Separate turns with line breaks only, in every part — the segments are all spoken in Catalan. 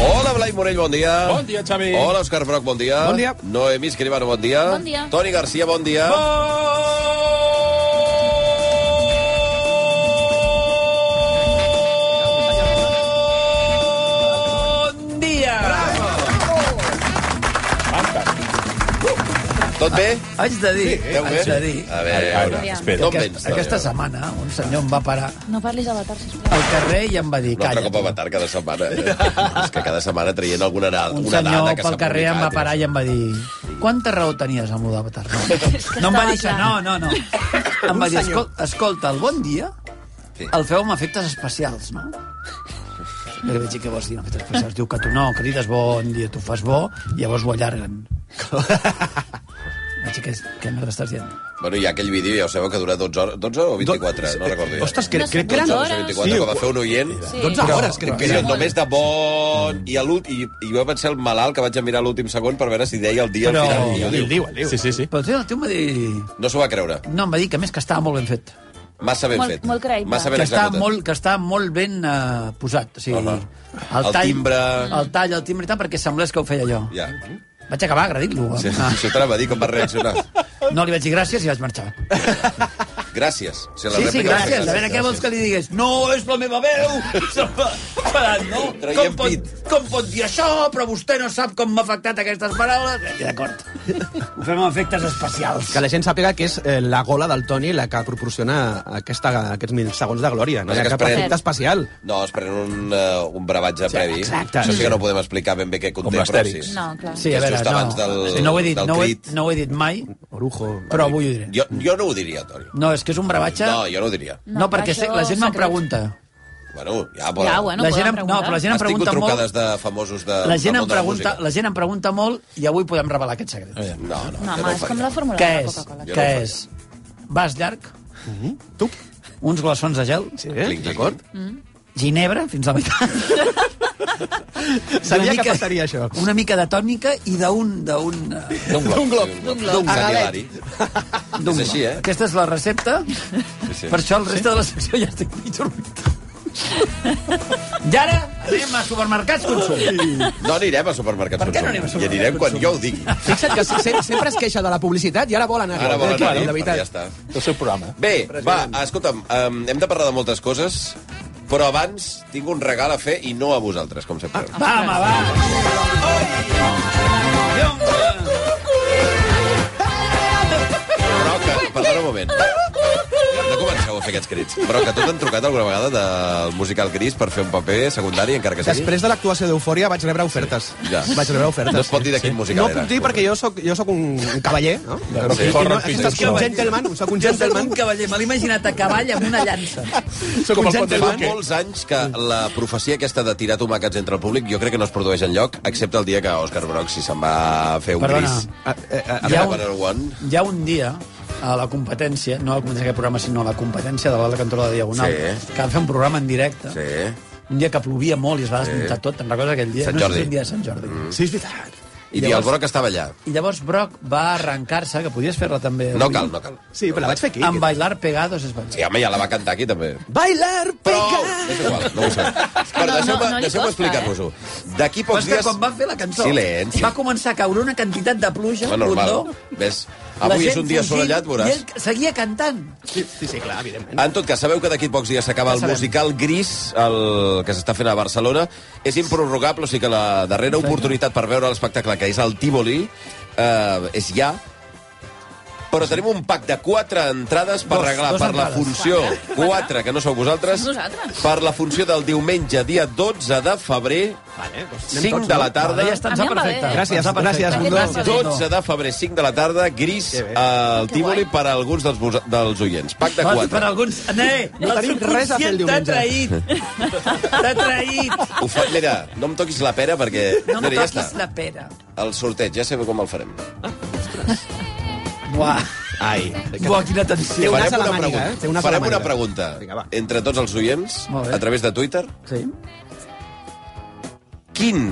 Hola, Blai Morell, bon dia.
Bon dia, Xavi.
Hola, Òscar Broc, bon dia.
Bon dia.
Noemí Escribano, bon dia.
Bon dia.
Toni Garcia, bon dia.
Bon dia! Fantàstic.
Tot bé?
Haig de dir,
Eh,
haig
bé?
de dir...
A veure, a veure,
Aviam.
espera. D'on
Aquest,
vens?
aquesta setmana un senyor em va parar
No parlis d'avatar, sisplau.
al carrer i em va dir,
Un altre
calla.
cop avatar cada setmana. Eh? És que cada setmana traient alguna dada.
un
una
senyor
dada que
pel
s'ha
carrer em va
publicat,
parar
eh?
i em va dir quanta raó tenies amb l'avatar? No, no em va dir això, no, no, no. Em va dir, "Escol- escolta, el bon dia
Sí.
el feu amb efectes especials, no? Jo li vaig dir, què vols dir amb efectes especials? Diu que tu no, crides bon dia, tu fas bo, i llavors ho allarguen. vaig dir, què, què merda estàs dient?
Bueno, hi ha aquell vídeo, ja ho sabeu, que dura 12 hores, 12 o 24,
Eh,
no recordo ja.
Ostres, crec,
No sé,
crec que eren...
12 o 24,
Sí,
que va fer un oient.
Sí.
12
Però-
hores, crec
Que
que
era
eren.
només de bon... I, a l'últim- i, i jo vaig ser el malalt que vaig a mirar l'últim segon per veure si deia el dia
Però-
al final. I ho
El
diu.
diu, el diu. Sí, sí, sí.
Però el tio- el tio em va dir...
No s'ho va creure.
No, em va dir que a més que estava molt ben fet.
Massa ben
Molt-
fet.
molt creïble.
Massa ben
Que està,
executat.
molt, que està molt ben uh, posat. O sigui,
Home. El timbre.
El tall, el timbre i tal, perquè semblés que ho feia jo.
Ja.
Vaig acabar agredint-lo.
Sí,
Sí.
això t'anava a dir com va reaccionar.
No, li vaig dir gràcies i vaig marxar.
Gràcies. O sigui, la
Sí, sí,
rèplica
gràcies. A veure què vols que li digués. No, és la meva veu! Se'm va- Parat, no?
Traiem
Com pot,
pit.
com pot dir això? Però vostè no sap com m'ha afectat aquestes paraules. I D'acord. Ho fem amb efectes especials.
Que la gent sàpiga que és eh, la gola del Toni la que proporciona aquesta, aquests mil segons de glòria.
No
No
sé
hi
què
ha cap
esperen.
efecte especial.
No, es pren un, uh, un bravatge
Sí,
previ.
exacte.
Això sí que no podem explicar ben bé què conté, però sí.
l'Astèrix.
No, clar.
Sí, a
és
veure,
just
no,
abans del-
no, ho he dit,
del
no, ho he,
crit.
no ho he dit mai,
Orujo.
però avui ho diré.
Jo, jo no ho diria, Toni.
No, és que és un bravatge...
No, jo no ho diria.
No, no perquè
això
se- la gent me'n
secret.
pregunta.
Bueno, ja, però...
Ja, bueno.
la
poden
gent, em- no,
preguntar.
però la gent em
Has tingut
pregunta
trucades
molt...
de famosos de,
La gent,
del
em
món de la
pregunta,
música.
la gent em pregunta molt i avui podem revelar aquest secret.
No, no, jo
No, home,
ho
és com
faria.
la fórmula
Què
de la
és?
Coca-Cola.
Eh. Jo no
Què
ho faig.
és? Vas llarg,
Tu?
uns glaçons de gel,
Sí, eh?
Clinc, clinc.
D'acord?
ginebra fins a la meitat.
Sabia
Una
que passaria això.
Una mica de tònica i d'un... d'un, eh,
D'un glob. D'un glob. D'un glob. D'un
Agalet.
Hilari.
d'un-
És així, eh?
Aquesta és la recepta.
Sí, sí.
Per això el reste de la secció ja estic mig dormit. I ara anem a supermercats consum.
eh? No anirem a supermercats.
Per què no anem a
Consum.
supermercats
Hi anirem quan
Consum?
jo ho digui.
Fixa't que se- sempre es queixa de la publicitat i ara vol anar.
Ara volen anar-hi, però
de
ja
veritat.
està.
El seu programa.
Bé, va, escolta'm, um, hem de parlar de moltes coses, però abans tinc un regal a fer i no a vosaltres, com sempre. Ah,
Va, home, va. Oi, home.
però que, perdona un moment. No comenceu a fer aquests crits. Però que tot han trucat alguna vegada del musical gris per fer un paper secundari, encara que sigui.
Després de l'actuació d'Eufòria vaig rebre ofertes.
Ja.
Vac rebre ofertes.
No es pot dir de quin musical
No
era.
puc dir perquè jo sóc, jo sóc un cavaller, no? Però
Sí.
sí.
Corre,
no,
pisa.
sóc un gentleman, sóc un
Jo soc
gentleman.
un cavaller, me l'he imaginat a cavall amb una llança.
Sóc
Com
un
el Conde
Fa
gentleman.
Duque. Què?
molts anys que la profecia aquesta de tirar tomàquets entre el públic jo crec que no es produeix en lloc, excepte el dia que Òscar Brock si se'n va fer un
Perdona.
gris.
Ah, eh, eh,
A
Hi ha
veure,
un-
One.
Hi ha un dia a la competència, no a la competència d'aquest programa, sinó a la competència de l'Alta Cantora de Diagonal,
Sí.
que van fer un programa en directe,
Sí.
un dia que plovia molt i es va desmuntar tot, te'n recordes aquell dia?
Sant
no sé si
Jordi.
un dia de Sant Jordi. Mm.
Sí, és veritat.
I
Llavors-
el Brock estava allà.
I llavors Brock va arrencar-se, que podies fer-la també.
No
avui,
cal, no cal.
Sí, però la vaig fer aquí.
Amb Bailar Pegados es va
Sí, home, ja la va cantar aquí, també.
Bailar,
Prou!
pega!
És igual, no ho sé. Però
no,
deixeu-me
no li
deixeu
costa, eh?
explicar-vos-ho. D'aquí
Però
pocs
és que
dies...
quan va fer la cançó
Silenci.
va començar a caure una quantitat de pluja,
Home, normal.
rondó,
Ves,
la
avui
gent
és un dia
fugint,
assolellat,
I
veuràs.
ell seguia cantant.
Sí, sí, sí, clar, evidentment.
Ah, En tot cas, sabeu que d'aquí pocs dies s'acaba
Ja
el
sabem.
musical Gris, el que s'està fent a Barcelona. És improrrogable, o sigui que la darrera oportunitat per veure l'espectacle, que és al Tívoli, eh, és ja, Però tenim un pack de quatre entrades per
Dos,
regalar
dos
per la
entrades.
funció. Quatre, que no sou vosaltres.
Som nosaltres.
Per la funció del diumenge, dia 12 de febrer,
Vale, doncs anem
5
tots,
de
no?
la tarda.
Ja està,
A
ens
mi
va
em va bé.
perfecte.
Gràcies,
Ens va perfecte.
gràcies,
Mundó.
Gràcies,
12 de febrer, 5 de la tarda, gris
Que bé.
al
Que
Tívoli
guai.
per a alguns dels, vos- dels oients. Pack de
Vas, Per
4.
alguns... Eh,
No tenim res a fer
T'ha
el diumenge.
traït. T'ha traït.
Ho fa... Mira, no em toquis la pera perquè...
No em
Mira, ja
toquis
està.
la pera.
El sorteig, ja sabeu com el farem.
Buah,
Ai.
buah, quina
Té
tensió.
un as
Farem
a la
una
màniga,
pregunta,
eh? Té un as a la
farem una
màniga.
pregunta
Vinga, va.
entre tots els oients
Molt bé.
a través de Twitter.
Sí.
Quin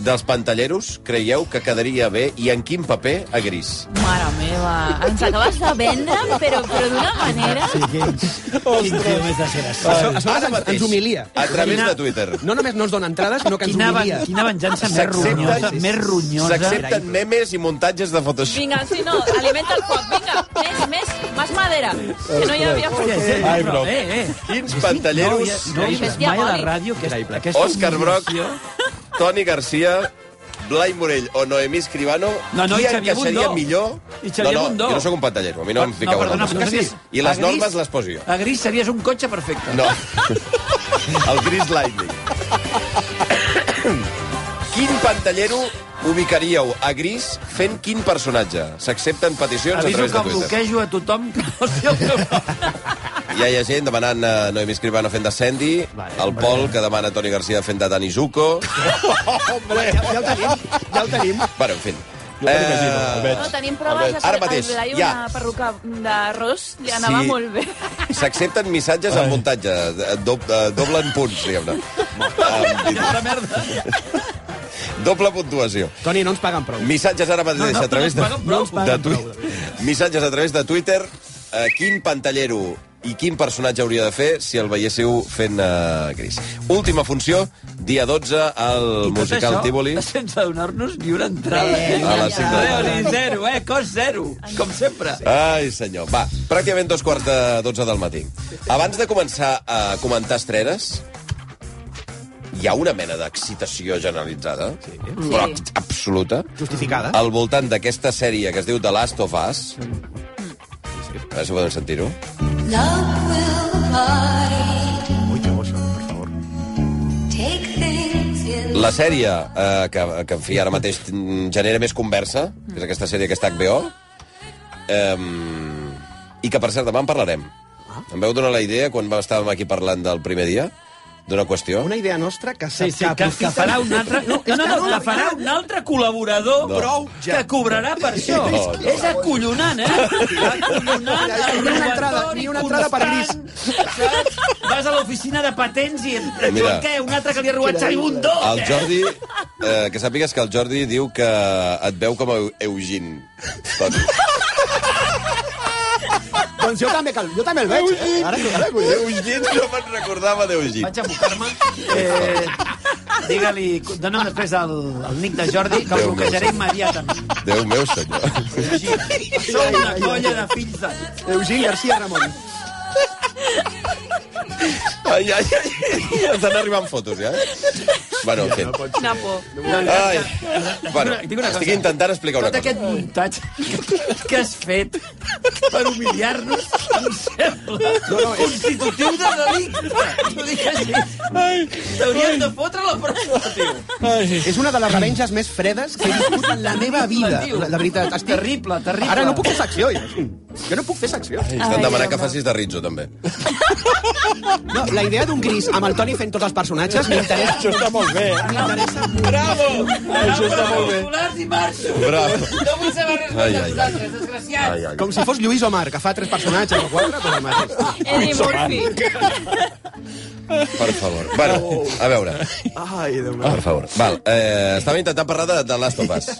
dels pantalleros creieu que quedaria bé i en quin paper a gris?
Mare meva, ens acabes de vendre, però, però d'una manera...
Sí, quins, quins tio més desgraciat.
Això, això ara mateix. ens humilia.
A través
Quina-
de Twitter.
No només no ens dona entrades, sinó que ens
Quina,
humilia.
ven- quina venjança més
S'accepta-
ronyosa, més ronyosa.
S'accepten memes i muntatges de Photoshop.
Vinga, si no, alimenta el foc, vinga, més, més, més madera, que no hi havia foc.
Oye, eh,
Ai, Broc.
Eh, eh.
Quins
No,
pantalleros...
ja, no he vist mai a la ràdio que
Increïble.
aquesta
Òscar Broc,
humiliació.
Toni Garcia, Blai Morell o Noemí Escribano,
No, no,
qui
i Xavier
encaixaria
Bundó.
millor...
I Xavier
no, no,
Bundó.
jo no sóc un pantallero, a mi no em ficau
perdona,
normes.
però no sé.
I les
A gris-
normes les poso jo.
A gris series un cotxe perfecte.
No. El Gris Lightning. Quin pantallero ubicaríeu a Gris fent quin personatge? S'accepten peticions a
Aviso
través
que
de Twitter.
bloquejo a tothom que no sé el meu nom.
Ja hi ha gent demanant a Noemi Escribano fent de Sandy, el Pol que demana Toni Garcia fent de Dani Zuko...
Ja, ja ho tenim, ja ho tenim.
Bueno, en fi.
Jo me l'imagino, el veig.
No, tenim proves,
Ara mateix,
el Blai,
ja.
una perruca d'arròs, li anava
Sí.
molt bé.
S'accepten missatges en muntatge, eh, dob, eh, doblen punts, diguem-ne. Em-
merda.
Eh, Doble puntuació.
Toni, no ens paguen prou.
Missatges ara mateix a través de,
no ens paguen prou. No ens
de,
paguen prou,
Twi- missatges a través de Twitter. Eh, quin pantallero i quin personatge hauria de fer si el veiéssiu fent eh, gris. Última funció, dia 12 al
I tot
musical
això
Tívoli.
Sense donar-nos ni una entrada. Eh,
A les cinc de la tarda.
Ni zero, eh? Cost zero, com sempre.
Ai, senyor. Va, pràcticament dos quarts de 12 del matí. Abans de començar a comentar estrenes, hi ha una mena d'excitació generalitzada, sí. però
Sí.
absoluta,
Justificada.
al voltant d'aquesta sèrie que es diu The Last of Us. A veure si podem sentir-ho.
Love will hide. Take things in
La sèrie eh, que, que, en fi, ara mateix mm, genera més conversa, que és aquesta sèrie que està a HBO, eh, i que, per cert, demà en parlarem. Em vau donar la idea, quan va- estàvem aquí parlant del primer dia, d'una qüestió.
Una idea nostra que
Sí,
s'aprofita...
sí, que, que farà un altre... No, no, no, que farà un altre col·laborador
No.
prou que cobrarà per això.
No, no.
És acollonant, eh? Acollonant.
Ni una entrada,
robatori
ni una entrada per gris.
constant, saps? Vas a l'oficina de patents i et et
Mira.
diuen què? Un altre que li ha robat Xavi Bundó.
El
què?
Jordi, eh, que sàpigues que el Jordi diu que et veu com a Eu- Eugene. Toni.
Doncs jo també, cal- jo també el veig. Eh? Ara, ara, que ho dius.
Eugene no me'n recordava d'Eugene.
Vaig a buscar-me. Eh, Digue-li, dona'm després el, el nick de Jordi, que el
Déu meu.
bloquejaré immediatament.
Déu meu, senyor.
Sou una colla de fills de...
Eugene García Ramon.
Ai, ai, ai. Estan arribant fotos, ja. Bueno, en fi.
Quina por.
Ai. Bueno, estic intentant explicar una
Tot
cosa.
aquest muntatge que has fet per humiliar-nos em sembla no, no, constitutiu de delicte. No dic així. T'haurien de fotre la presó, tio.
És una de les revenges més fredes que he viscut en la meva vida.
Tio.
La, la veritat, estic...
Terrible, terrible.
Ara no puc fer secció, jo. Jo no puc fer secció.
Estan demanant que facis de Rizzo, també.
No, la idea d'un gris amb el Toni fent tots els personatges m'interessa.
Això està molt bé.
eh?
M'interessa.
Bravo! Això està molt bé.
Populars i marxo.
Bravo.
No vull saber res
Ai,
més de
ai,
vosaltres, desgraciats.
Ai, ai.
Com si fos Lluís Omar, que fa tres personatges o quatre, però el mateix.
Eddie Murphy.
Per favor. Bueno, a veure.
Ai, Déu meu.
Ah, Per favor. Val, eh, estava intentant parlar de, de Last of Us.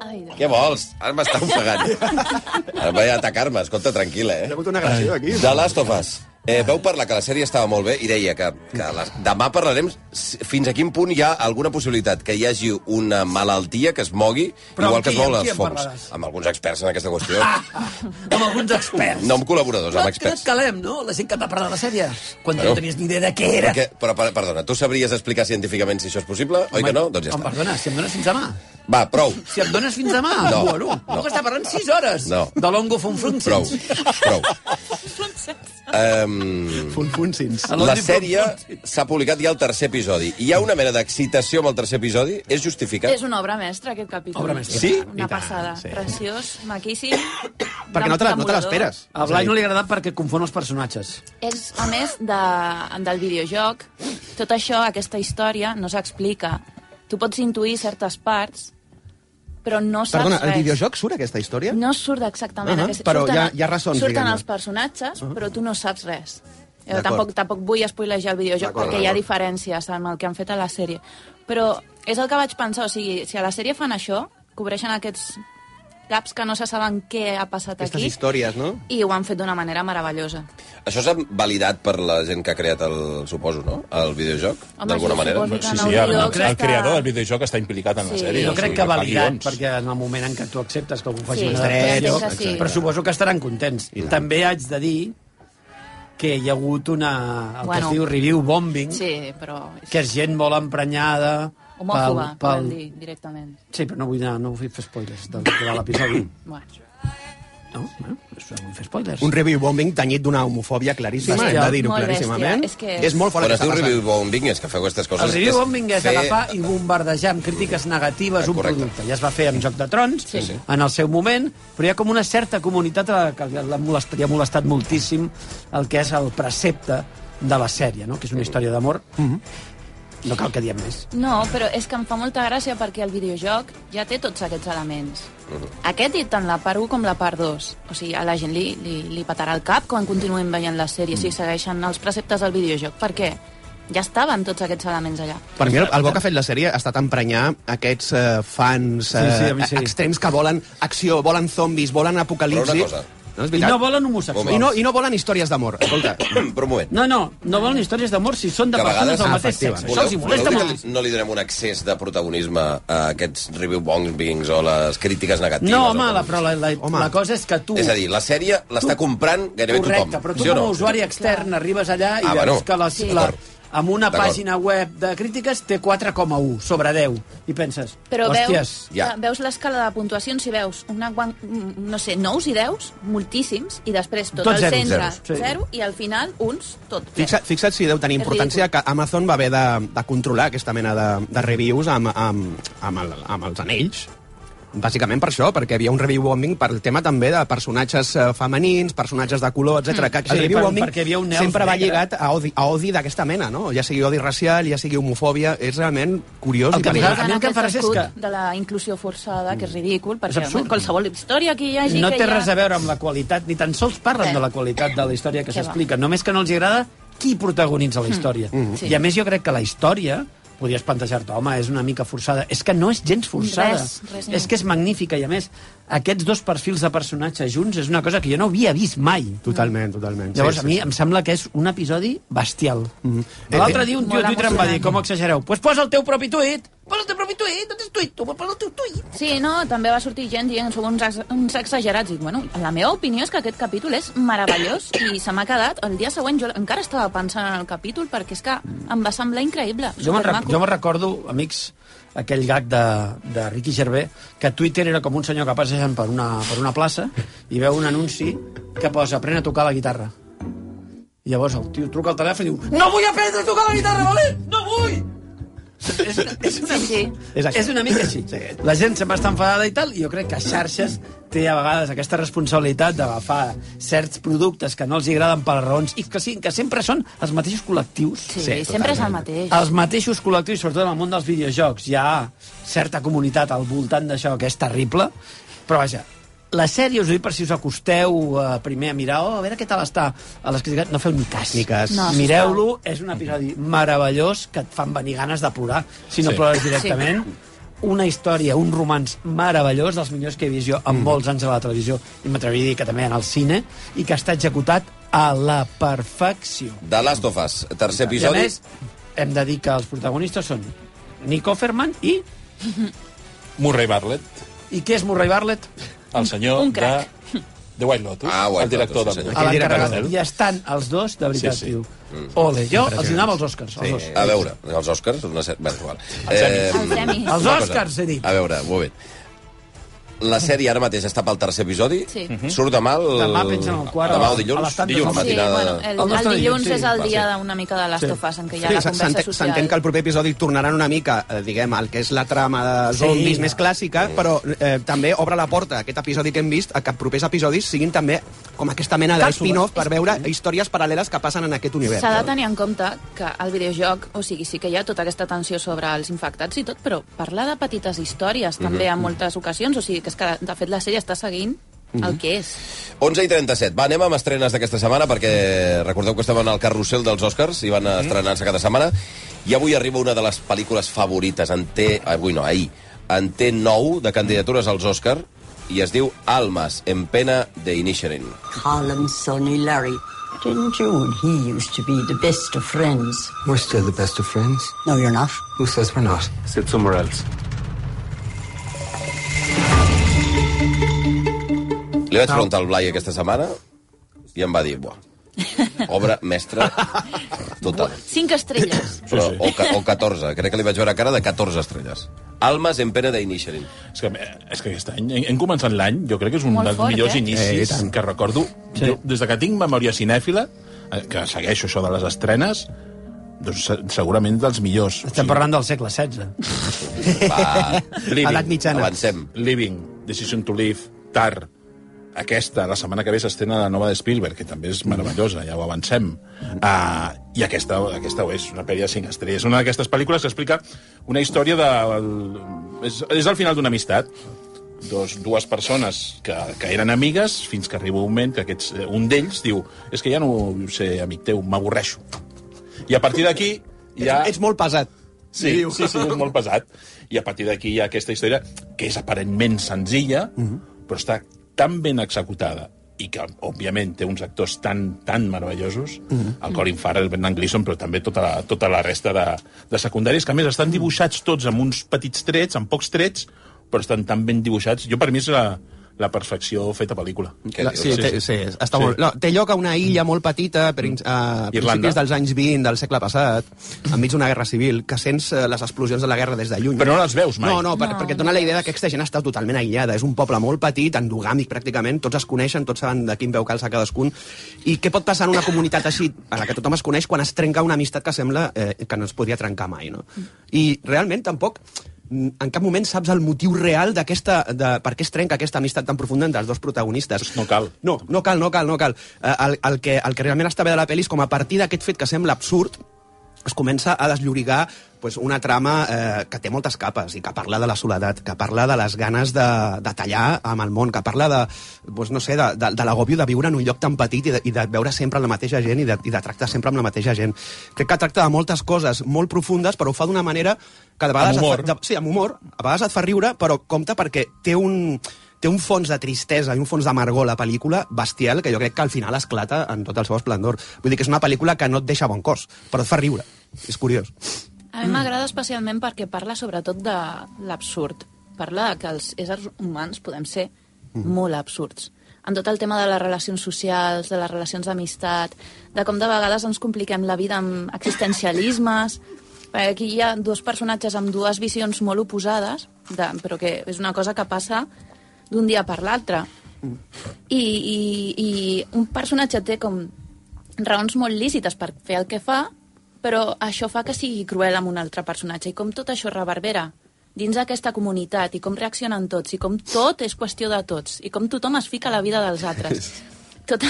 Ai, Déu.
Què vols? Ara m'està ofegant. Ara vaig a atacar-me, escolta, tranquil, eh?
Hi ha hagut una agressió aquí.
De Last of Us. Eh, vau parlar que la sèrie estava molt bé i deia que, que les... demà parlarem si- fins a quin punt hi ha alguna possibilitat que hi hagi una malaltia que es mogui,
Però
igual
amb
que es
qui-
mou
amb qui Ah!
les
en
fongs.
parlaràs?
Amb alguns experts en aquesta qüestió.
Amb alguns experts.
No amb col·laboradors, amb
Tot, tot
experts.
calem, no? La gent que et va parlar de la sèrie. Quan
Bueno.
no tenies ni idea de què era.
Perquè, però, per- perdona, tu sabries explicar científicament si això és possible, oi que no? Doncs ja
Em
està.
perdona, si em dones fins demà.
Va, prou.
Si em dones fins demà,
No,
bueno,
no.
puc estar parlant 6 hores
No.
de l'Ongo Fonfrunzins.
Prou. Prou. Um,
Funfuncins.
A l'Ongo
la sèrie
Fonfrunzins.
s'ha publicat ja el tercer episodi. Hi ha una mena d'excitació amb el tercer episodi? És justificat?
És una obra mestra, aquest capítol.
Obra mestra.
Sí?
Una
I tant,
passada.
sí.
Preciós, maquíssim.
Perquè no te la- no te
tremolador.
l'esperes.
A Blai no li ha agradat perquè confon els personatges.
És, a més, de, del videojoc. Tot això, aquesta història, no s'explica. Tu pots intuir certes parts, però no saps
Perdona,
res.
el videojoc surt, aquesta història?
No surt exactament.
Ahà,
aquest-
però
surten,
hi ha-
el-
hi ha raons,
Surten
diguem-ne. Ah.
els personatges, però tu no saps res. Jo
D'acord.
tampoc, tampoc vull espoilejar el videojoc
D'acord,
perquè hi ha
d'acord.
diferències amb el que han fet a la sèrie. Però és el que vaig pensar, o sigui, si a la sèrie fan això, cobreixen aquests gaps que no se saben què ha passat
Aquestes
aquí,
històries, no?
i ho han fet d'una manera meravellosa.
Això s'ha validat per la gent que ha creat el, suposo, no? El videojoc,
Home,
d'alguna
sí,
manera.
suposo.
Sí,
Fiquen a
sí,
un
el,
lloc
el,
que
el
està-
creador del videojoc està implicat en la
Sí.
sèrie.
Jo
Jo
o
crec
sigui,
que
fa
validat,
guions.
perquè en el moment en què tu acceptes que algú faci
Sí,
una
sí,
dreta,
sí, sí, sí.
però suposo que estaran contents. També haig de dir que hi ha hagut una, el que
Bueno.
es diu review bombing,
Sí, però... és
que és gent molt emprenyada...
Homòfoba, pel, pel... dir, directament.
Sí, però no vull, anar, no vull fer spoilers de, de l'episodi.
Bueno.
No, bueno, doncs no vull fer spoilers.
Un review bombing tenyit d'una homofòbia claríssima,
Bèstia.
hem de dir-ho
Molt bèstia,
claríssimament.
és que-
és molt fort
Quan
el
es
que
diu
està
review
passant.
bombing és que feu aquestes coses...
El review
és
bombing és
fer-
agafar i bombardejar amb crítiques negatives
Ah,
un
correcte.
producte. Ja es va fer amb Joc de Trons,
Sí, sí.
en el seu moment, però hi ha com una certa comunitat a la que l'ha molestat, li ha molestat moltíssim el que és el precepte de la sèrie, no? que és una història d'amor.
Mhm.
No cal que diem més.
No, però és que em fa molta gràcia perquè el videojoc ja té tots aquests elements.
Mhm.
Aquest i tant la part 1 com la part 2. O sigui, a la gent li, li, li petarà el cap quan continuem veient la sèrie,
Mhm.
si segueixen els preceptes del videojoc. Per què? Ja estaven tots aquests elements allà.
Per mi, el, el bo que ha fet la sèrie ha estat emprenyar aquests eh, fans eh,
Sí, sí, a mi sí.
extrems que volen acció, volen zombis, volen apocalipsi...
Però una cosa.
No, és
I
veritat.
no volen homosexuals.
I no, I no volen històries d'amor. Escolta,
Però un moment.
No, no, no volen històries d'amor si són de
Que a
persones
vegades-
del
Ah,
mateix sexe.
efectivament.
Això els hi molesta
dir
molt.
que no li donem un excés de protagonisme a aquests review bombings o les crítiques negatives?
No,
o
home,
com-
la, però la, la,
Home.
la cosa és que tu...
És a dir, la sèrie l'està comprant gairebé
Correcte,
tothom.
però tu
sí o
com a
no?
usuari extern arribes allà i
Ah,
veus
bueno.
que les,
Sí.
la,
D'acord.
amb una
D'acord.
pàgina web de crítiques té 4,1 sobre 10. I penses,
Però
hòsties...
veus,
ja.
ja. veus l'escala de puntuacions i veus una, guan- mm, no sé, nous i deus, moltíssims, i després tot,
Tots
el
zeros,
centre,
zeros, sí.
zero, i al final uns, tot.
fixa, fixa't si deu tenir
És
importància
ridícul.
que Amazon va haver de, de controlar aquesta mena de, de reviews amb, amb, amb, el, amb els anells. Bàsicament per això, perquè hi havia un review bombing per el tema també de personatges eh, femenins, personatges de color, etc. Que
Mm. Sí,
el review
per-
bombing
perquè hi havia un elf
sempre va
negre.
lligat a odi, a odi d'aquesta mena, no? Ja sigui odi racial, ja sigui homofòbia... És realment curiós
El
i
que
perillós.
A mi el que em fa gràcia és
escut de la inclusió forçada, que és ridícul, perquè
absurd.
qualsevol història que hi hagi...
No
que
té
hi ha...
res a veure amb la qualitat, ni tan sols parlen
Eh.
de la qualitat de la història que
Què va. Hmm.
s'explica, només que no els agrada qui protagonitza la història.
Hmm.
Sí.
I a més jo crec que la història podies plantejar-te, home, és una mica forçada. És que no és gens forçada.
Res, res ni
és
molt.
que és magnífica, i a més, aquests dos perfils de personatges junts és una cosa que jo no havia vist mai.
Totalment, totalment.
Llavors,
Sí,
a
sí,
mi
sí.
em sembla que és un episodi bestial. Mm
Eh,
-hmm. L'altre
eh,
dia un tio
Molt
a Twitter em va dir,
emocionant.
com exagereu? Doncs pues posa el teu propi tuit! Posa el teu propi tuit! No tens tuit, tu posa el teu tuit!
Sí, no, també va sortir gent dient sou uns, ex- uns exagerats. Dic, bueno, la meva opinió és que aquest capítol és meravellós i se m'ha quedat. El dia següent jo encara estava pensant en el capítol perquè és que em va semblar increïble.
Jo me'n rec
supermaco.
jo me'n recordo, amics, aquell gag de, de Ricky Gervais, que Twitter era com un senyor que passejant per una, per una plaça i veu un anunci que posa «Aprèn a tocar la guitarra». I llavors el tio truca al telèfon i diu «No vull aprendre a tocar la guitarra, vale? No vull!» és una, és una,
Sí, sí.
És
És,
així.
és una mica així. La gent sempre està enfadada i tal, i jo crec que xarxes té a vegades aquesta responsabilitat d'agafar certs productes que no els hi agraden per raons, i que, sí, que sempre són els mateixos col·lectius.
Sí, sempre és el mateix.
Els mateixos col·lectius, sobretot en el món dels videojocs, hi ha certa comunitat al voltant d'això que és terrible, però vaja, la sèrie, us ho dic per si us acosteu eh, primer a mirar, oh, a veure què tal està, a les crítiques no feu ni cas.
Ni cas.
No, sisplau.
Mireu-lo, és un episodi meravellós que et fan venir ganes de plorar, si no
Sí.
sí. plores directament. Sí. Una història, un romans meravellós, dels millors que he vist jo en molts anys a la televisió, i m'atreviria a dir que també en el cine, i que està executat a la perfecció.
The Last of Us, tercer
I a
episodi.
més, hem de dir que els protagonistes són Nick Offerman i...
Murray Bartlett,
I què és Murray Bartlett?
el senyor
Un
de
crac.
The White Lotus,
Ah, White
el director
Lotus, sí,
de
senyor.
A l'encarregat.
Marvel.
I estan els dos, de veritat,
eh? Sí,
sí,
sí.
sí. tio. Ole, jo els
Impressionant.
donava els Oscars,
Sí.
els dos.
A veure, els Oscars, una sèrie... Bé, és igual.
Els Emmys.
Els
una cosa,
Oscars, he dit.
A veure, un moment. La sèrie ara mateix està pel tercer episodi.
Sí.
Surt demà el...
Demà pengen el quart
Demà
a
o
les- a
dilluns?
les tantes
dilluns, la
del matí.
Sí,
matinada...
bueno, el,
El
el,
nostre
dilluns
dilluns, sí.
és el
Va,
dia
sí.
d'una mica de les
Sí.
tofes en què hi ha
Sí,
la
s'en-
conversa
s'entén-
social.
S'entén que el proper episodi tornaran una mica, eh, diguem, al que és la trama de zombis
Sí.
més clàssica, però eh, també obre la porta a aquest episodi que hem vist a que propers episodis siguin també com aquesta mena
Càpsules.
d'espin-off per veure històries paral·leles que passen en aquest univers.
S'ha de tenir en compte que el videojoc, o sigui, sí que hi ha tota aquesta tensió sobre els infectats i tot, però parlar de petites històries també en moltes ocasions, o sigui, que és que, de fet, la sèrie està seguint el que és.
11 i 37. Va, anem amb estrenes d'aquesta setmana, perquè recordeu que estaven al carrusel dels Oscars i van
Mhm.
mm -hmm. estrenar-se cada setmana. I avui arriba una de les pel·lícules favorites, en té... Avui no, ahir. En té 9 de candidatures als Oscar i es diu Almas, en pena de Inisherin.
Harlem Sonny Larry. Didn't you and he used to be the best of friends?
We're still the best of friends.
No, you're not.
Who says we're not? Sit somewhere else.
Li vaig preguntar al Blai aquesta setmana i em va dir, buah, obra mestra total.
Cinc estrelles.
Però, o, ca- o 14, crec que li vaig veure cara de 14 estrelles. Almas en pena de Inisherin.
És que, és que aquest any, hem començat l'any, jo crec que és un
Molt
dels
fort,
millors
eh?
Eh, i
inicis
tant.
que recordo.
Sí.
Jo, des de que tinc memòria cinèfila, eh, que segueixo això de les estrenes, doncs se- segurament dels millors.
Estem parlant del segle XVI.
Va,
Living.
Edat mitjana.
avancem.
Living, Decision to Live, Tar, aquesta, la setmana que ve s'estrena la nova de Spielberg, que també és meravellosa, ja ho avancem. Uh, I aquesta, aquesta ho és, una pel·li de cinc estrelles. Una d'aquestes pel·lícules que explica una història de... És, és el final d'una amistat. Dos, dues persones que, que eren amigues fins que arriba un moment que aquests, eh, un d'ells diu és que ja no vull ser amic teu, m'avorreixo. I a partir d'aquí... Ja...
Ets molt pesat.
Sí, sí, sí, és molt pesat. I a partir d'aquí hi ha aquesta història, que és aparentment senzilla, però està tan ben executada i que, òbviament, té uns actors tan, tan meravellosos, el Colin Farrell, el Brendan Gleeson, però també tota la, tota la resta de, de secundaris, que a més estan dibuixats tots amb uns petits trets, amb pocs trets, però estan tan ben dibuixats. Jo, per mi, és la, la perfecció feta pel·lícula.
Què
La,
dius?
sí, té, sí, està sí. molt... No, té lloc a una illa molt petita, per, ins- a
Irlanda.
principis dels anys 20 del segle passat, enmig d'una guerra civil, que sents eh, les explosions de la guerra des de lluny.
Però no les veus mai.
No, no, per, no perquè et dona la idea de que aquesta gent està totalment aïllada. És un poble molt petit, endogàmic pràcticament, tots es coneixen, tots saben de quin veu calça cadascun. I què pot passar en una comunitat així, en la que tothom es coneix, quan es trenca una amistat que sembla eh, que no es podria trencar mai, no? I realment tampoc mm, en cap moment saps el motiu real d'aquesta... de- per què es trenca aquesta amistat tan profunda entre els dos protagonistes.
No cal.
No, no cal, no cal, no cal. Eh, El, el, que, el que realment està bé de la pel·li és com a partir d'aquest fet que sembla absurd es comença a desllorigar pues, una trama eh, que té moltes capes i que parla de la soledat, que parla de les ganes de, de tallar amb el món, que parla de, pues, no sé, de, de, de l'agòbio de viure en un lloc tan petit i de, i de veure sempre la mateixa gent i de, i de tractar sempre amb la mateixa gent. Crec que tracta de moltes coses molt profundes, però ho fa d'una manera que de vegades...
Amb humor.
Et fa, de, sí, amb humor. A vegades et fa riure, però compte perquè té un té un fons de tristesa i un fons d'amargor a la pel·lícula bestial que jo crec que al final esclata en tot el seu esplendor. Vull dir que és una pel·lícula que no et deixa bon cos, però et fa riure. És curiós.
A mi m'agrada especialment perquè parla sobretot de l'absurd. Parla de que els éssers humans podem ser molt absurds. En tot el tema de les relacions socials, de les relacions d'amistat, de com de vegades ens compliquem la vida amb existencialismes... Perquè aquí hi ha dos personatges amb dues visions molt oposades, de, però que és una cosa que passa d'un dia per l'altre. I, i, I un personatge té com raons molt lícites per fer el que fa, però això fa que sigui cruel amb un altre personatge. I com tot això reverbera dins d'aquesta comunitat, i com reaccionen tots, i com tot és qüestió de tots, i com tothom es fica a la vida dels altres. Tota...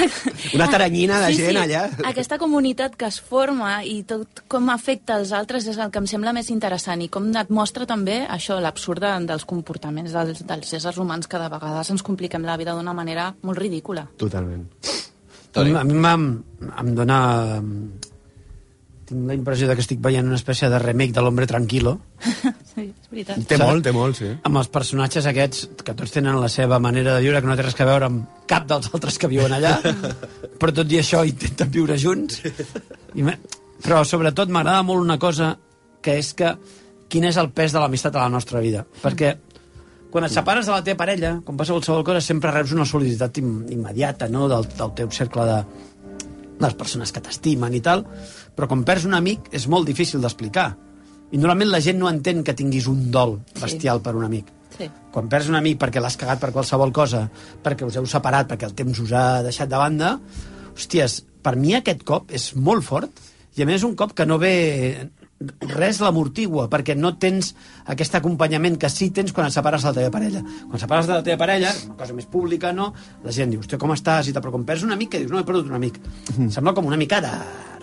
Una taranyina de gent allà.
Aquesta comunitat que es forma i tot com afecta els altres és el que em sembla més interessant i com et mostra també això, l'absurd de- dels comportaments dels, dels éssers humans que de vegades ens compliquem la vida d'una manera molt ridícula.
Totalment.
Toni.
A mi m'em, em dona... Tinc la impressió de que estic veient una espècie de remake de l'Hombre Tranquilo,
Sí, és veritat.
Té molt, té molt, sí.
amb els personatges aquests, que tots tenen la seva manera de viure, que no té res a veure amb cap dels altres que viuen allà, però tot i això intenten viure junts. I me... Però sobretot m'agrada molt una cosa, que és que quin és el pes de l'amistat a la nostra vida. Perquè quan et separes de la teva parella, com passa qualsevol cosa, sempre reps una solidaritat im immediata, no?, del, del teu cercle de les persones que t'estimen i tal, però quan perds un amic és molt difícil d'explicar. I normalment la gent no entén que tinguis un dol bestial per un amic
Sí.
quan perds un amic perquè l'has cagat per qualsevol cosa, perquè us heu separat, perquè el temps us ha deixat de banda, hòsties, per mi aquest cop és molt fort, i a més és un cop que no ve res l'amortigua, perquè no tens aquest acompanyament que sí tens quan et separes de la teva parella. Quan separes de la teva parella, és una cosa més pública, no? La gent diu, hòstia, com estàs? I tal, però quan perds un amic, que dius, no, he perdut un amic. Sembla com una mica de...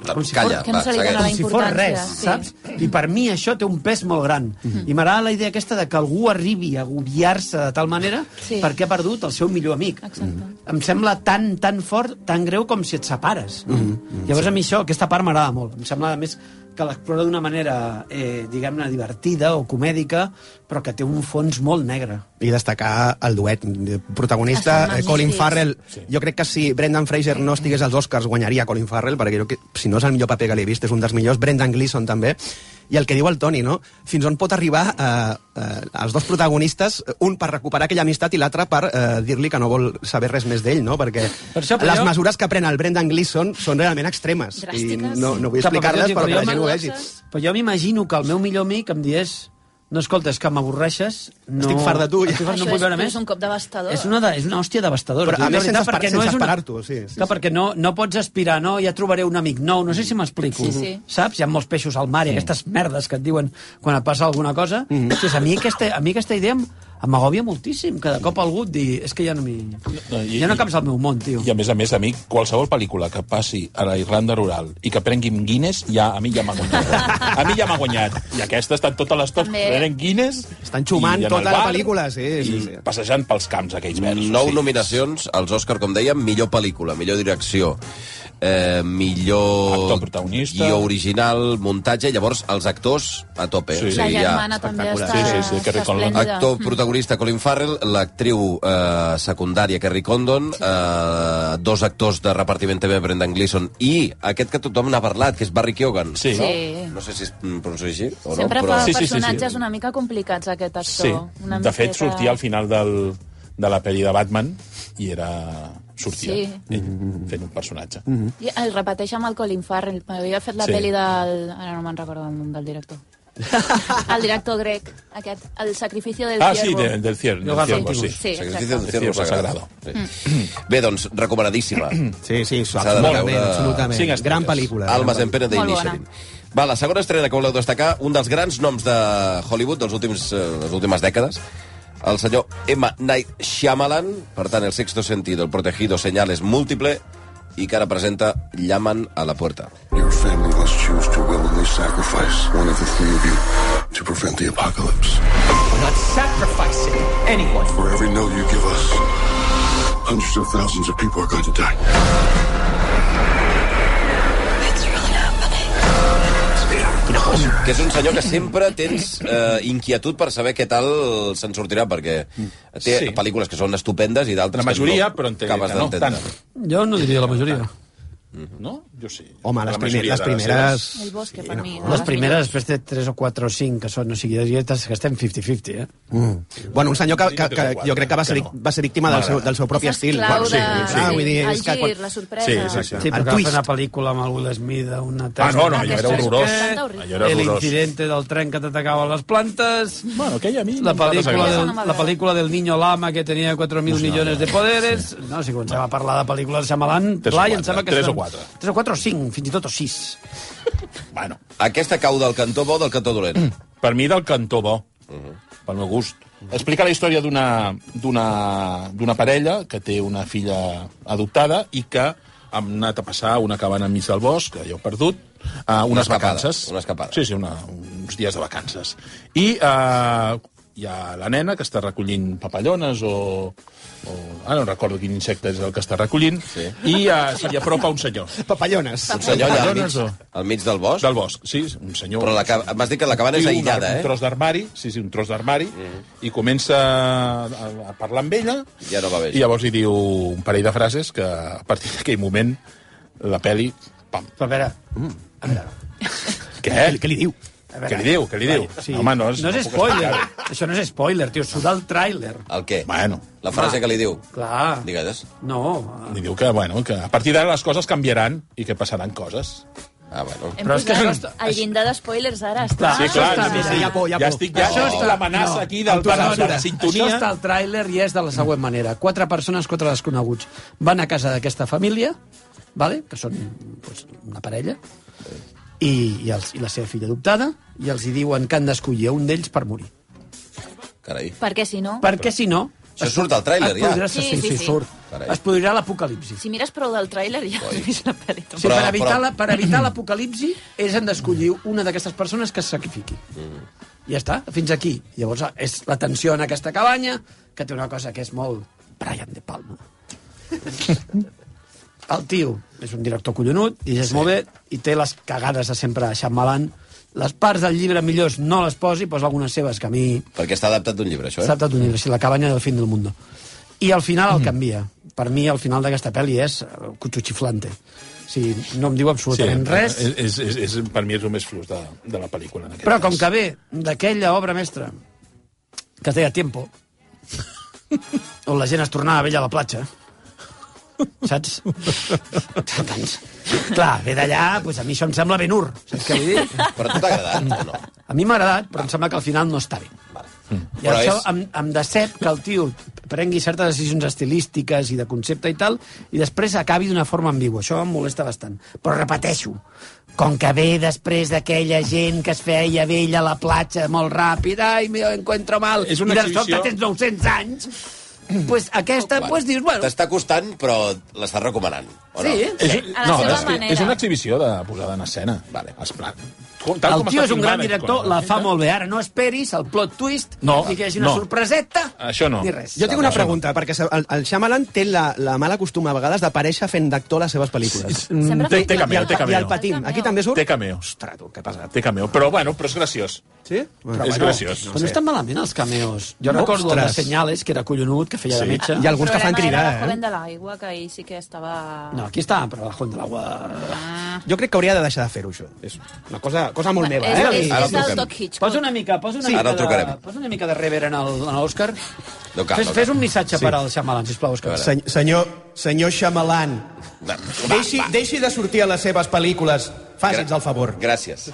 Com si,
Calla,
fos-
Que no va, se li dona segueix. la
com si fos
importància,
res,
sí. Mhm.
saps? I per mi això té un pes molt gran. Mm. I m'agrada la idea aquesta de que algú arribi a agobiar-se de tal manera
Sí.
sí. perquè ha perdut el seu millor amic. Exacte. Em sembla tan, tan fort, tan greu com si et separes. Mm -hmm. Llavors sí. a mi això, aquesta part m'agrada molt. Em sembla, a més, que l'explora d'una manera, eh, diguem-ne, divertida o comèdica, però que té un fons molt negre.
i destacar el duet de protagonista,
Estan
eh,
magnífics.
Colin Farrell. Sí. Jo crec que si Brendan Fraser no estigués als Oscars guanyaria Colin Farrell, perquè jo que, si no és el millor paper que li he vist, és un dels millors. Brendan Gleeson també. I el que diu el Toni, no? Fins on pot arribar eh, eh, els dos protagonistes, un per recuperar aquella amistat i l'altre per eh, dir-li que no vol saber res més d'ell, no? Perquè per això,
això, però
les
jo-
jo... mesures que pren el Brendan Gleeson són realment extremes. I no, no vull
Clar, jo
explicar-les,
dic,
però que la
jo
gent ho
m'ag-
vegi.
Però jo m'imagino que el meu millor amic em digués no, escolta, és que m'avorreixes. No,
Estic fart de tu, ja."
Estic fart, no
Això
vull
és,
veure
però
més.
és un cop devastador.
És una, de, és una hòstia devastadora.
Però, a
Dic,
més,
la veritat,
sense
perquè
espera- sense
és una-
esperar-t'ho, sí, sí,
Clar, perquè no, no pots aspirar, no? Ja trobaré un amic nou, no sé si m'explico.
Sí, sí.
Saps? Hi ha molts peixos al mar i aquestes merdes que et diuen quan et passa alguna cosa.
Mhm.
Mm -hmm. a, mi aquesta, a mi aquesta idea em- m'agòbia moltíssim. Cada cop algú et di... És que ja no m'hi...
I,
Ja no caps al meu món, tio.
I a més a més, a mi, qualsevol pel·lícula que passi a la Irlanda rural i que prenguin Guinness, ja, a mi ja m'ha guanyat. A mi ja m'ha guanyat. I aquesta estan totes les tops
També.
prenent Guinness...
Estan xumant
i en el
tota la
bar,
pel·lícula, sí, sí,
i
sí.
passejant pels camps aquells verds.
Nou nominacions als Òscar, com dèiem, millor pel·lícula, millor direcció, eh, millor...
Actor protagonista.
Guió original, muntatge, llavors els actors a tope.
Sí. La
germana també
espectacular.
està- Sí, sí, sí, Kerry està Condon. esplèndida.
Actor
Mm.
protagonista Colin Farrell, l'actriu eh, secundària Kerry Condon, eh, dos actors de repartiment també Brendan Gleeson i aquest que tothom n'ha parlat, que és Barry Keoghan.
Sí.
Sí.
No, no sé si es mm, pronuncia així o
Sempre
no,
fa
però...
personatges una mica complicats, aquest actor.
Sí,
Una
de fet
miqueta-
sortia al final del, de la pel·li de Batman i era... sortia
Sí.
ell fent un personatge.
Mhm.
I el repeteix amb el Colin Farrell. Havia fet la
Sí.
sí. pel·li del... Ara no me'n recordo el nom del director. el director grec, aquest, el sacrifici del
Ah, sí,
ciervo.
de, del ciervo,
Yoga
del ciervo, sí.
Continus. Sí, exacte.
Sacrificio del
El
ciervo
ciervo
sagrado.
sagrado.
Bé, doncs, recomanadíssima.
Sí, sí,
S'ha de
absolutament,
veure-
absolutament.
Cinc estrelles.
Gran pel·lícula.
Almas en pena
Molt bona.
d'Initiating. Va, la segona estrena que voleu destacar, un dels grans noms de Hollywood dels últims, eh, les últimes dècades, el senyor M. Night Shyamalan, per tant, el sexto sentido, el protegido, señales múltiple, i que ara presenta Llaman a la puerta.
Your family must choose to willingly sacrifice one of the three of you to prevent the apocalypse.
We're not sacrificing anyone.
For every no you give us, hundreds of thousands of people are going to die.
Que és un senyor que sempre tens eh, inquietud per saber què tal se'n sortirà, perquè té
Sí.
sí. pel·lícules que són estupendes i d'altres
La majoria,
que no
però entenc
acabes
que no,
d'entendre.
Jo no diria la majoria.
No? Jo sí.
Home, les,
La
primer,
majoria
les
de les
primeres...
El bosque, sí, per mi.
Les primeres, després té 3 o 4 o 5 que són, o sigui, dietes que estem 50-50, eh?
Mm. Bueno, un senyor que, que, que jo crec que va ser, vic- va ser víctima del seu, del seu propi estil. Bueno,
Clau de...
clar, Ah, vull dir,
el
és que
gir,
quan...
la sorpresa.
Sí, exacte.
Sí,
El
perquè va fer
twist.
una pel·lícula amb el Will Smith una
Ah, no, no, allò era horrorós. Allò era horrorós.
L'incidente del tren que t'atacava les plantes.
Bueno, aquella a mi...
La pel·lícula,
m'agrada.
del,
Aquesta no
la pel·lícula del niño lama que tenia 4.000
no,
milions de poderes. No, si comencem a parlar de pel·lícules de Shyamalan,
Tres o
clar, i em
quatre,
sembla que...
tres
són-
o quatre.
3 o 4 o 5, fins i tot, o 6.
Bueno.
Aquesta cau del cantó bo o del cantó
Mm.
dolent?
Per mi, del cantó bo,
Mhm.
pel meu gust. Explica la història d'una d'una- d'una parella que té una filla adoptada i que han anat a passar a una cabana enmig del bosc, que jo he perdut, a unes
escapada,
vacances.
una escapada.
Sí, sí, una, uns dies de vacances. I eh, hi ha la nena que està recollint papallones o... o ara no recordo quin insecte és el que està recollint, sí. i uh, se li apropa un senyor.
Papallones.
Un senyor
Eh,
allà al mig,
Papallones o-
al mig del bosc?
Del bosc, sí, un senyor...
Però la ca- m'has dit que la cabana és
Sí, un-
aïllada, eh?
Un tros d'armari, sí, sí, un tros d'armari, i comença a, a parlar amb ella,
Ja no va bé.
i llavors li diu un parell de frases que a partir d'aquell moment la peli... Pam.
Però a veure...
Què? Què li diu? Què li diu? Què li diu?
Sí. Home, no és, no és
puc
spoiler.
explicar-ho.
Això no és spoiler, tio. Surt el tràiler.
El què?
Bueno.
La frase que li diu.
Clar.
Digues.
No.
Li diu que, bueno, que a partir d'ara les coses canviaran i que passaran coses.
Ah, bueno.
Hem posat el llindar d'espoilers ara. Està...
Ah,
Sí, clar,
Ah,
sí, sí, sí, hi ha por, hi ha por. Això està- no, amb tu mesura.
tota Això està al tràiler i és de la següent manera. Quatre persones, quatre desconeguts, van a casa d'aquesta família, vale? que són doncs, una parella, i, i, els, i la seva filla adoptada, i els hi diuen que han d'escollir un d'ells per morir.
Carai.
Perquè si no...
Perquè si no...
Això surt al tràiler,
es
ja.
produirà- Sí, sí, sí, surt.
Carai.
Es produirà l'apocalipsi.
Si mires prou del tràiler ja has vist la pel·li.
Sí, però, per evitar la- per evitar l'apocalipsi ells han d'escollir una d'aquestes persones que es sacrifiqui. Ja està, fins aquí. Llavors és la tensió en aquesta cabanya, que té una cosa que és molt Brian De Palma. El tio és un director collonut, i és sí. molt bé, i té les cagades de sempre a Shyamalan. Les parts del llibre millors no les posi, posa algunes seves que a mi
Perquè està adaptat d'un llibre, això,
S'ha
eh?
adaptat un llibre, sí, La cabanya del fin del mundo. I al final el canvia. Per mi, al final d'aquesta pel·li és eh, cuchuchiflante. O sigui, no em diu absolutament sí, res,
És, és, és, és, per mi és el més fluix de, de la pel·lícula. En aquest
però com que ve d'aquella obra mestra que es deia Tiempo, on la gent es tornava vella a la platja, saps? Doncs, clar, ve d'allà, doncs a mi això em sembla ben ur, saps què vull dir?
Però a tu t'ha agradat o no?
A mi m'ha agradat, però em sembla que al final no està bé. I
Però
això
és-
em, em decep que el tio prengui certes decisions estilístiques i de concepte i tal, i després acabi d'una forma ambigua. Això em molesta bastant. Però repeteixo, com que ve després d'aquella gent que es feia vella a la platja molt ràpid, ai, me encuentro mal,
És una
i de sobte
exhibició-
tens 900 anys, pues aquesta, pues dius, bueno...
T'està costant, però l'estàs recomanant. O no?
Sí,
És,
sí.
no, és, que és una exhibició de posada en escena. Vale. Es plan, com,
el
tal com
tio
està
és un
filmada
gran
i
director,
com-
la fa molt bé. Ara no esperis el plot twist,
No,
ni que hi hagi una
no.
sorpreseta, ni res.
Jo tinc una pregunta, perquè se- el, el Shyamalan té la, la mala costuma a vegades d'aparèixer fent d'actor a les seves pel·lícules.
Sempre té- té cameo,
I el,
té cameo.
I el Patim. Aquí també surt?
Té cameo. Ostres, tu, què pesat. Té cameo, però bueno, però és graciós.
Sí?
Però, és graciós.
Però no Doncs estan malament els cameos. Jo
No,
recordo el
ostres.
de Senyales, que era collonut, que feia
Sí.
de metge.
Hi ha alguns que fan
El problema era la joven de l'aigua, que ahir sí que estava...
No, aquí està, però la Juan de l'Agua...
Jo crec que hauria de deixar de fer-ho, això. És una cosa, cosa molt meva. eh?
és- Ara és el truquem. Doc
Hitchcock.
Posa una mica, posa una
Sí.
mica
Ara el
de,
trucarem.
posa una mica de rever en el- en l'Òscar.
No cal,
fes,
no cal.
fes un missatge
Sí.
per al Shyamalan, sisplau, Òscar.
Sen- senyor, senyor Shyamalan,
Va,
deixi, deixi de sortir a les seves pel·lícules. Faci'ns el favor.
Gràcies.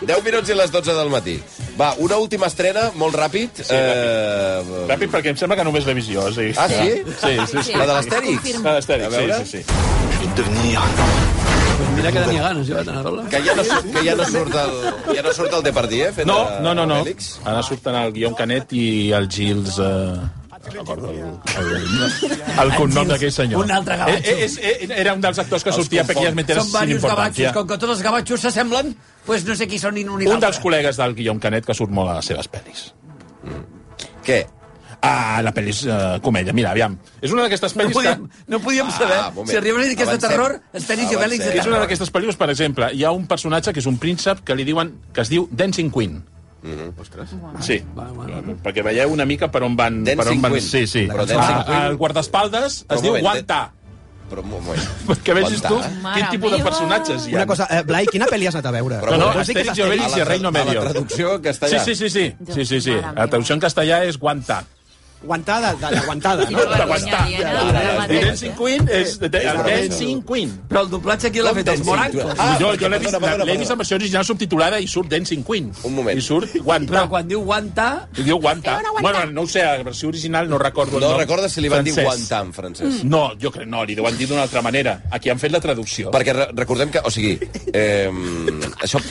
10 minuts i les 12 del matí. Va, una última estrena, molt ràpid. Sí, ràpid. Eh...
Ràpid, perquè em sembla que només l'he vist jo. Sí.
Ah, sí?
Sí, sí, sí.
La de l'Astèrix?
La de l'Astèrix,
A veure.
sí, sí, sí.
Devenir
Pues mira que tenia ganes, jo, de tenir-la.
Que ja no, su- que ja no surt el, ja no surt el Depardieu, eh? Fet
No,
a-
no, no, no.
Fèlix.
Ara surten el Guion Canet i el Gils... Eh... no recordo el, el, el cognom d'aquell senyor.
Un altre gavatxo.
Eh, eh, és- eh, era un dels actors que sortia per aquelles meteres
Són
sin
diversos gavatxos,
importància.
com que tots els gavatxos s'assemblen, pues no sé qui són ni un ni
Un dels
l'altre.
col·legues del Guillaume Canet que surt molt a les seves pel·lis.
Què?
Ah, la pel·li és uh, comèdia. Mira, aviam. És una d'aquestes
No
pel·lis
podíem,
que...
no podíem saber.
un moment.
si arribes a dir que és de
Avancem.
terror, Asterix i Fèlix de
És una
terror.
d'aquestes pel·lícules, per exemple, hi ha un personatge que és un príncep que li diuen que es diu Dancing Queen. Mm
Mm-hmm.
-hmm. Ostres. Sí, perquè veieu una mica per on van...
Dancing
per on van...
Queen.
Sí, sí.
Però Dancing
ah,
Queen-
el guardaespaldes
Però
es
un
diu
moment,
Guanta.
Però un moment.
Perquè vegis tu
Guanta, eh?
quin
Mare
tipus de
meva.
personatges hi ha.
Una cosa, eh, Blai, quina pel·li has anat a veure?
Però no, no,
Vols dir que és
Astèrix i Obelix
Astèrix?
i el Reino Medio.
eh? A la traducció en castellà.
Sí, sí, sí. sí. sí, sí, sí.
mare
La traducció en castellà és Guanta.
Aguantada, de l'aguantada, no?
D'aguantar. Dancing Queen és... El Dancing Queen.
Però el doblatge qui l'ha fet? Els morancos.
Ah, jo jo l'he vist, l'he vist en versió original subtitulada i surt Dancing Queen. Un moment. I surt Guanta. Però
quan diu Guanta...
Diu Guanta. Bueno, no ho sé, a la versió original no recordo el
No
nom.
recordes si li van dir
Francesc.
Guanta en francès?
No, jo crec, no, li deuen dir d'una altra manera. Aquí han fet la traducció.
Perquè re- recordem que, o sigui, eh, això,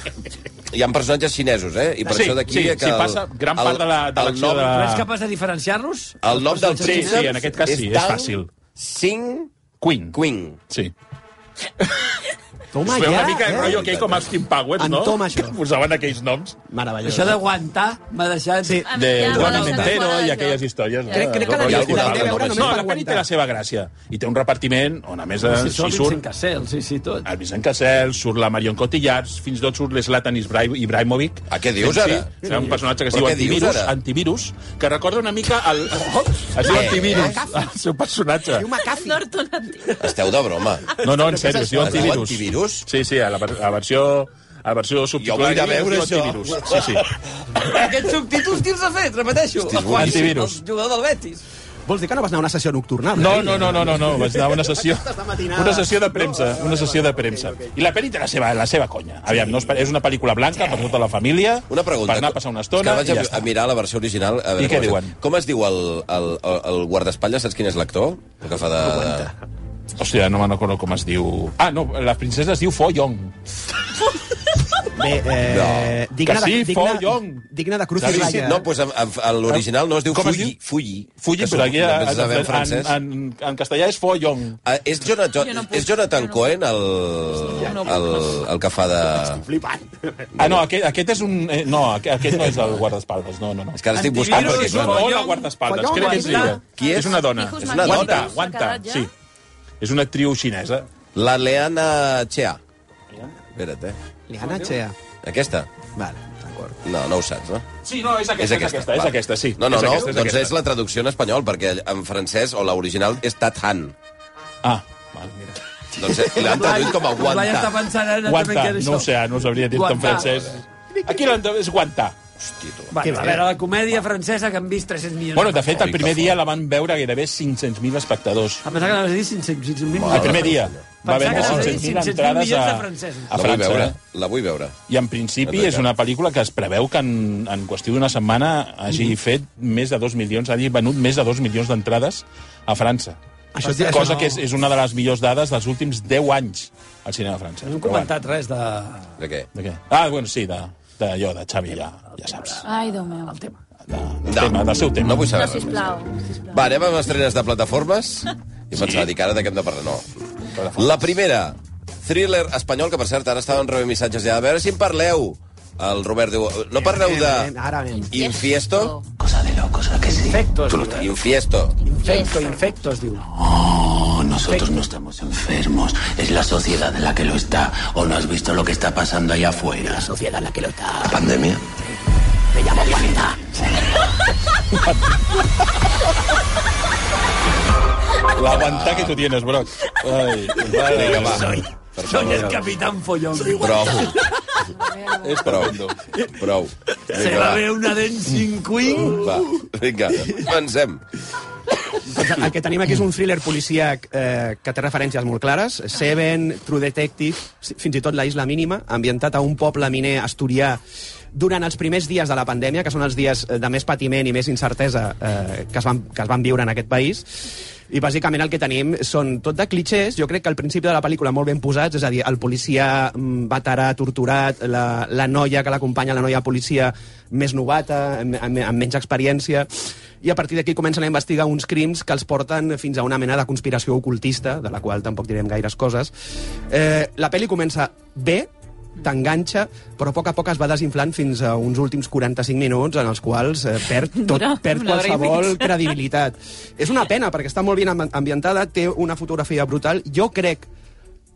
hi ha personatges xinesos, eh? I per
Sí,
això d'aquí...
sí,
que
sí, passa gran part de la- de l'acció
el nom,
Però és capaç de diferenciar-los? Doncs
El nom del
Sí,
príncep...
sí, en aquest cas sí, és
Dan
fàcil.
Sing
Queen.
Queen.
Sí.
Toma
es feia
ja,
una mica
eh?
el rotllo aquell com Austin Powers, no?
Entoma això.
Que posaven aquells noms. Meravellós.
Això d'aguantar m'ha deixat... Sí.
de Juan Montero i aquelles històries.
eh? Crec-
no?
crec que
No,
la
hi ha
pel·li
alguna
té a
cosa
veure
com
només
això. No,
per
la pel·li té
aguantar. Ah,
la seva gràcia. I té un repartiment on, a més,
Però
Eh, si
si surt
surt...
Vincent Cassel, sí, sí, tot.
El Vincent Cassel, surt la Marion Cotillard, fins i tot surt l'Eslatan Ibrahimovic. A
Ah, què dius, ara?
Sí, serà un personatge que es
Però
diu
què dius,
Antivirus,
ara?
Antivirus, que recorda una mica el... Es diu
Eh,
Antivirus,
eh.
el seu personatge.
McAfee. Norton Antivirus.
Esteu de broma.
No, no, en sèrio, es diu
Es diu
Antivirus.
Antivirus?
Sí, sí, a la, ver- a la versió a la versió subtitulada
vull anar a
es diu
veure això.
Antivirus. Sí, sí.
Aquests subtítols qui els ha fet? Repeteixo.
Hosti, és
El Juan-
boníssim.
El jugador del Betis.
Vols dir que no vas anar a una sessió nocturnal?
No, no, no, no, no, no. vaig anar a una sessió, una sessió de premsa, una sessió de premsa. I la pel·li té la seva, la seva conya. Aviam, no és, per- és una pel·lícula blanca per tota la família,
Una pregunta.
per anar a passar una
És que
estona
vaig
i
a,
ja està.
a mirar la versió original. A
I què
com es-
diuen?
Com es diu el, el, el, el guardaespatlles? Saps quin és l'actor? El que fa de...
Hòstia, no me'n recordo com es diu... Ah, no, la princesa es diu Fo Yong.
Bé, eh,
No.
digna,
Que sí,
de, digna,
Fo Yong.
digna de Cruz
Sí, sí,
Raya.
no, doncs en, en, en l'original no es diu
Com es
Fulli.
diu?
Fulli.
Fulli,
que
però aquí
suposo que
en,
també saber en
en,
francès.
en, en castellà és Fo Yong.
Ah, és, Jonathan,
Jo no puc,
és Jonathan Cohen el,
no puc.
el, el que fa de...
Ah, no, aquest, aquest és un... Eh, no, aqu- aquest no és el guardaespaldes, no, no, no.
És que ara estic buscant Antivirus, perquè, clar, no.
no, no, guardaespaldes,
Fallon,
crec que és
Guarda.
ella.
Qui és?
És una dona.
Hijos
És una
Magníficos,
dona.
s'ha
Guanta,
quedat ja?
sí. És una actriu xinesa.
La Leana Chea. Espera't, eh?
Liana Chea.
Aquesta?
Vale, d'acord.
No, no ho saps, no?
Sí, no, és aquesta, és aquesta, és
va.
aquesta, sí.
No, no,
És
no,
aquesta, és
doncs
aquesta.
és la traducció en espanyol, perquè en francès o l'original és Tathan.
Ah, val, mira.
Doncs eh, l'han traduït com a
Blai està
guanta.
pensant ara
Guanta,
també que era
no ho
això.
sé, no ho sabria dir en
Guanta.
francès. Aquí l'han és guanta.
Vale, a veure, la comèdia francesa que han vist 300 milions.
Bueno, de fet, el
vegades.
primer dia la van veure gairebé 500.000 espectadors.
A pensar que anaves a dir 500 milions.
El primer dia va haver
Pensava que anaves a dir
500.000
500.000
entrades a,
milions de francesos.
a
La vull
França.
veure,
eh?
la vull veure.
I en principi és una pel·lícula que es preveu que en, en qüestió d'una setmana hagi
Mm-hmm.
fet més de dos milions, hagi venut més de dos milions d'entrades a França.
Això és-
Cosa
això-
que és, és una de les millors dades dels últims 10 anys al cinema francès.
No hem comentat res de...
De què?
De què? Ah, bueno, sí, de, de allò, de Xavi, ja, ja saps.
Ai, Déu meu. El tema.
Del, tema, del seu tema.
No vull
No,
saber res.
sisplau.
Va, anem amb estrenes de plataformes. I pensava, dic, ara de què hem de parlar? No. La primera, thriller espanyol, que per cert ara estaven rebent missatges ja. A veure si en parleu. El Robert diu... No parleu de
Ara anem.
Infiesto?
Infectos, diu.
Infiesto.
Infecto, infectos, diu.
No, nosotros no estamos enfermos. Es la sociedad la que lo está. ¿O no has visto lo que está pasando allá afuera? La sociedad la que lo está. ¿La pandemia? Me llamo Juanita.
L'aguantar que tu tienes, Broc. Ai,
Vinga, va.
Soy el capitán Follón.
Prou.
És
prou. Prou.
Se
Vinga,
va
va.
haver una dancing queen.
Va, vinga. Pensem.
Doncs el que tenim aquí és un thriller policíac eh, que té referències molt clares. Seven, True Detective, fins i tot La Isla Mínima, ambientat a un poble miner asturià durant els primers dies de la pandèmia, que són els dies eh, de més patiment i més incertesa eh, que, es van, que es van viure en aquest país. I bàsicament el que tenim són tot de clichés, jo crec que al principi de la pel·lícula molt ben posats, és a dir, el policia mm, veterà, torturat, la, la noia que l'acompanya, la noia policia més novata, amb, amb, amb menys experiència, i a partir d'aquí comencen a investigar uns crims que els porten fins a una mena de conspiració ocultista, de la qual tampoc direm gaires coses. Eh, la pel·li comença bé, t'enganxa, però a poc a poc es va desinflant fins a uns últims 45 minuts en els quals eh, perd, tot,
Dura
perd
una hora i
qualsevol
mitja.
credibilitat. És una pena, perquè està molt ben amb- ambientada, té una fotografia brutal. Jo crec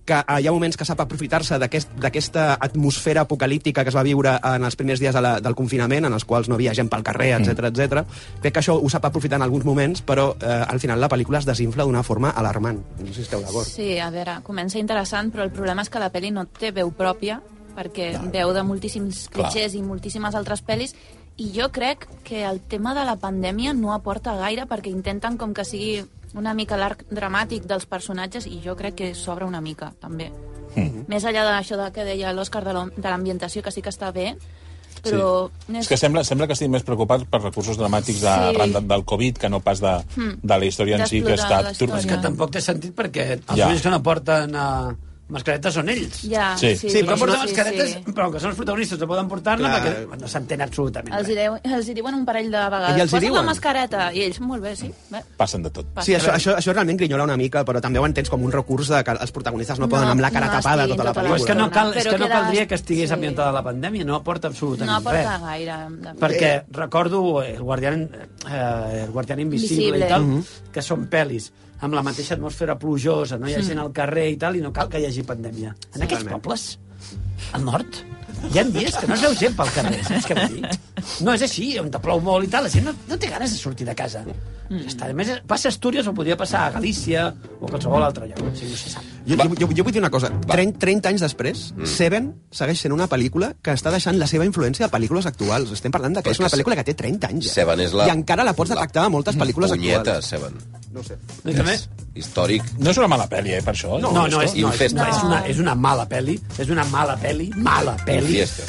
que eh, hi ha moments que sap aprofitar-se d'aquest- d'aquesta atmosfera apocalíptica que es va viure en els primers dies de la, del confinament, en els quals no havia gent pel carrer,
Mm.
etc etc. Crec que això ho sap aprofitar en alguns moments, però eh, al final la pel·lícula es desinfla d'una forma alarmant. No sé si esteu d'acord.
Sí, a veure, comença interessant, però el problema és que la pel·li no té veu pròpia, perquè veu de moltíssims
Clar.
clichés i moltíssimes altres pel·lis, i jo crec que el tema de la pandèmia no aporta gaire, perquè intenten com que sigui una mica l'arc dramàtic dels personatges, i jo crec que s'obre una mica, també.
Hmm.
Més enllà d'això de- que deia l'Òscar de l'am- de l'ambientació, que sí que està bé, però... Sí.
És que sembla, sembla que estigui més preocupat per recursos dramàtics de,
Sí.
sí. del Covid que no pas de,
Mm.
de la història en si, que
D'explorar
està...
la història.
tur-
És que tampoc té sentit perquè els
Ja.
ja. ulls que no porten a mascaretes són ells.
Ja, Sí.
sí, sí,
sí,
sí, però
sí,
portar
sí,
mascaretes,
sí.
però que són els protagonistes, no poden portar-la
Clar.
perquè no s'entén absolutament.
Els hi, deu, els hi diuen un parell de vegades.
Ell els hi
Posa't la
diuen?
mascareta. I ells, molt bé, sí. Bé,
Passen de tot.
passa.
Sí, això, això, això realment grinyola una mica, però també ho entens com un recurs de que els protagonistes no,
No,
poden amb la cara
no
tapada
estiguin
tota la
tota
pel·lícula.
És que no, cal, és
Però
que no
queda-
caldria que estigués sí. ambientada la pandèmia, no aporta absolutament
No aporta
res.
gaire. de-
Perquè recordo eh, El guardián, eh, el guardián invisible,
Invisible.
i tal,
Mhm.
que són pel·lis amb la mateixa atmosfera plujosa, no hi ha
Sí.
gent al carrer i tal, i no cal que hi hagi pandèmia. En aquests pobles, al nord, hi ha dies que no es veu gent pel carrer, saps què vull dir? No és així, on te plou molt i tal, la gent no, no té ganes de sortir de casa. Ja està. A més, passa a Astúries o podria passar a Galícia o a qualsevol altre lloc, o sigui, no se sap.
Jo, jo, jo, jo vull dir una cosa. 30, 30 anys després, mm. Seven segueix sent una pel·lícula que està deixant la seva influència a pel·lícules actuals. Estem parlant de que
Però
és una
que
pel·lícula que té 30 anys. ja.
Seven és la-
I encara la pots detectar a moltes pel·lícules
Punyeta,
actuals.
Seven.
No sé.
No, també,
Històric.
No és una mala pel·li, eh, per això.
No, no, no, és, no, és, no,
Infesta.
és, una, és una mala pel·li, és una mala pel·li, mala pel·li.
Fiesta.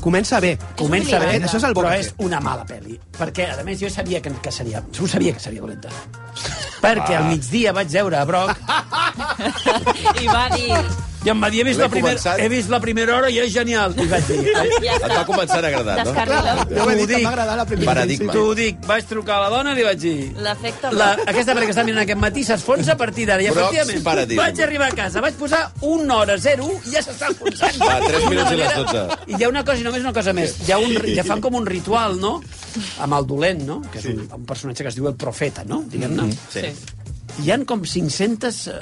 Comença bé.
Comença bé,
Això és el
però
bon
és una mala pel·li. Perquè, a més, jo sabia que, que seria... Ho sabia que seria dolenta. Perquè
Ah.
al migdia vaig veure a Broc
I va dir...
i em va dir, he vist,
L'he
la primera,
començat.
he vist la primera hora i és genial. I vaig dir...
Ja està. Et va començar a agradar, no? Descarrila.
T'ho
Jo vaig dir que em
dic,
va agradar la primera Paradigma.
T'ho dic, vaig trucar a la dona i li vaig dir...
L'efecte...
La, aquesta pel·li que està mirant aquest matí s'esfonsa a partir d'ara. I,
Brock's
efectivament,
Paradigm.
vaig arribar a casa, vaig posar 1 hora 0 i ja s'està enfonsant.
Va, tres minuts i les
D'una manera-
12.
I hi ha una cosa, i només una cosa més. Hi ha un, ja fan com un ritual, no?, amb el dolent, no?, que és un, un personatge que es diu el profeta, no?, diguem-ne.
Mm-hmm.
Sí.
Hi han com 500, eh,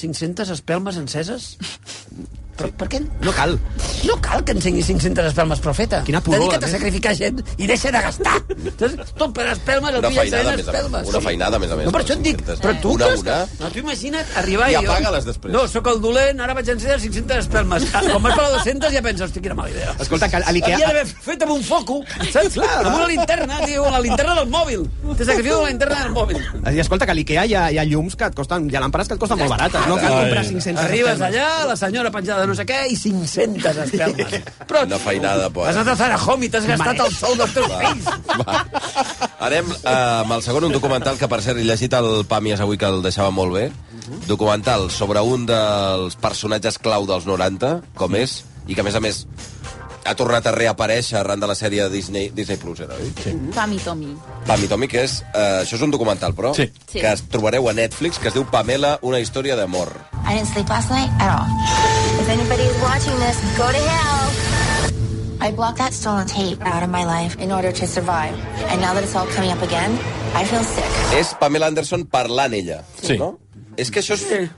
500 espelmes enceses. Però per què?
No cal.
No cal que encenguis 500 espelmes, profeta. Quina
pudor, eh? a
Dedica't a
més.
sacrificar gent i deixa de gastar. Saps? Tot per espelmes, el
Una
fill
feinada, a més a
encenent
més.
espelmes.
Una feinada, a més a més.
No, per això et dic, però tu
Una,
creus que-
una...
No t'ho imagina't arribar
I
jo-
apaga-les després.
No, sóc el dolent, ara vaig encendre 500 espelmes. Ah, Quan vas per la 200 ja penses, hosti, quina mala idea.
Escolta, que a l'Ikea-
Havia d'haver fet amb un foco, saps?
Clar.
amb una linterna, tio, amb la linterna del mòbil. Te sacrifico amb la linterna del mòbil.
I escolta, que a l'IKEA hi ha, hi ha llums que et costen, hi ha làmpades que et costen molt barates. No cal
Ai.
comprar 500
Arribes
espelmes.
allà, la senyora penjada de no sé què, i 500 espelmes. Però
Una feinada, pues.
Has anat a Zarahomi, t'has gastat el sou dels teus fills.
Anem eh, amb el segon, un documental que, per cert, he llegit el Pàmies avui, que el deixava molt bé.
Mhm.
Documental sobre un dels personatges clau dels 90, com és, i que, a més a més, ha tornat a reaparèixer arran de la sèrie Disney, Disney Plus, era, oi? Sí.
Tommy, Tommy.
Pam i Tommy, que és... Eh, això és un documental, però, sí.
Sí.
que es trobareu a Netflix, que es diu Pamela, una història d'amor.
I didn't sleep last night at all. If anybody's watching this, go to hell. I blocked that stolen tape out of my life in order to survive. And now that it's all coming up again, I feel sick.
És Pamela Anderson parlant ella, sí. no? És que això és...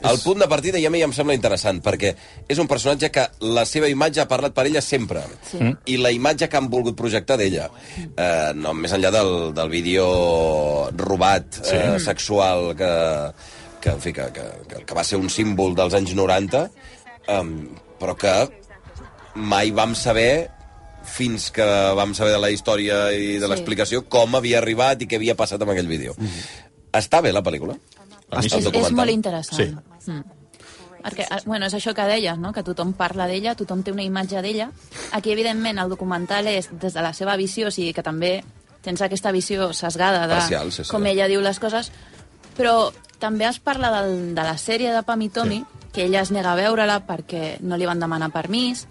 El punt de partida ja a mi ja em sembla interessant, perquè és un personatge que la seva imatge ha parlat per ella sempre. Sí. I la imatge que han volgut projectar d'ella, eh, no, més enllà del, del vídeo robat, sí. eh, sexual, que, que, en fi, que, que, que, que va ser un símbol dels anys 90, eh, però que mai vam saber fins que vam saber de la història i de
Sí.
sí. l'explicació com havia arribat i què havia passat amb aquell vídeo.
Mhm.
Està bé la pel·lícula?
És,
Està el
és
documental?
molt interessant.
Sí.
Sí. Mm. Perquè, eh, bueno, és això que deies, no? que tothom parla d'ella, tothom té una imatge d'ella. Aquí, evidentment, el documental és des de la seva visió, o sigui que també tens aquesta visió sesgada de
Parcial, sí, sí.
com ella diu les coses, però també es parla del, de la sèrie de Pam i Tommy, sí. que ella es nega a veure-la perquè no li van demanar permís,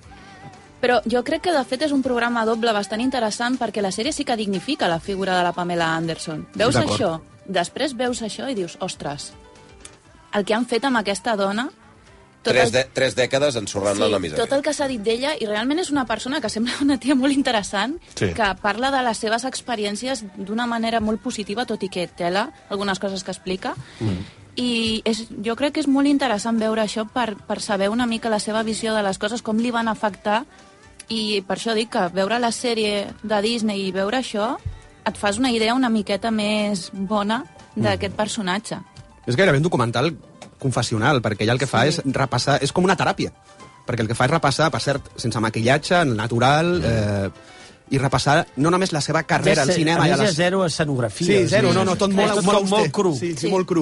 però jo crec que, de fet, és un programa doble bastant interessant perquè la sèrie sí que dignifica la figura de la Pamela Anderson. Veus
D'acord.
això? Després veus això i dius, ostres, el que han fet amb aquesta dona, tot
Tres,
el-
de, tres dècades ensorrant-la sí, la misèria.
tot el que s'ha dit d'ella, i realment és una persona que sembla una tia molt interessant,
Sí.
que parla de les seves experiències d'una manera molt positiva, tot i que tela algunes coses que explica, i és, jo crec que és molt interessant veure això per, per saber una mica la seva visió de les coses, com li van afectar, i per això dic que veure la sèrie de Disney i veure això et fas una idea una miqueta més bona d'aquest personatge.
És gairebé un documental confessional, perquè ella el que fa sí. és repassar... És com una teràpia, perquè el que fa és repassar, per cert, sense maquillatge, en natural...
Mm.
Eh, i repassar no només la seva carrera al
Des-
cinema...
a
i
més, hi ha
les-
zero escenografia.
Sí, zero,
Sí,
no, no, tot
sí.
molt,
Tot
molt,
com molt cru.
Sí, sí,
Sí.
molt cru.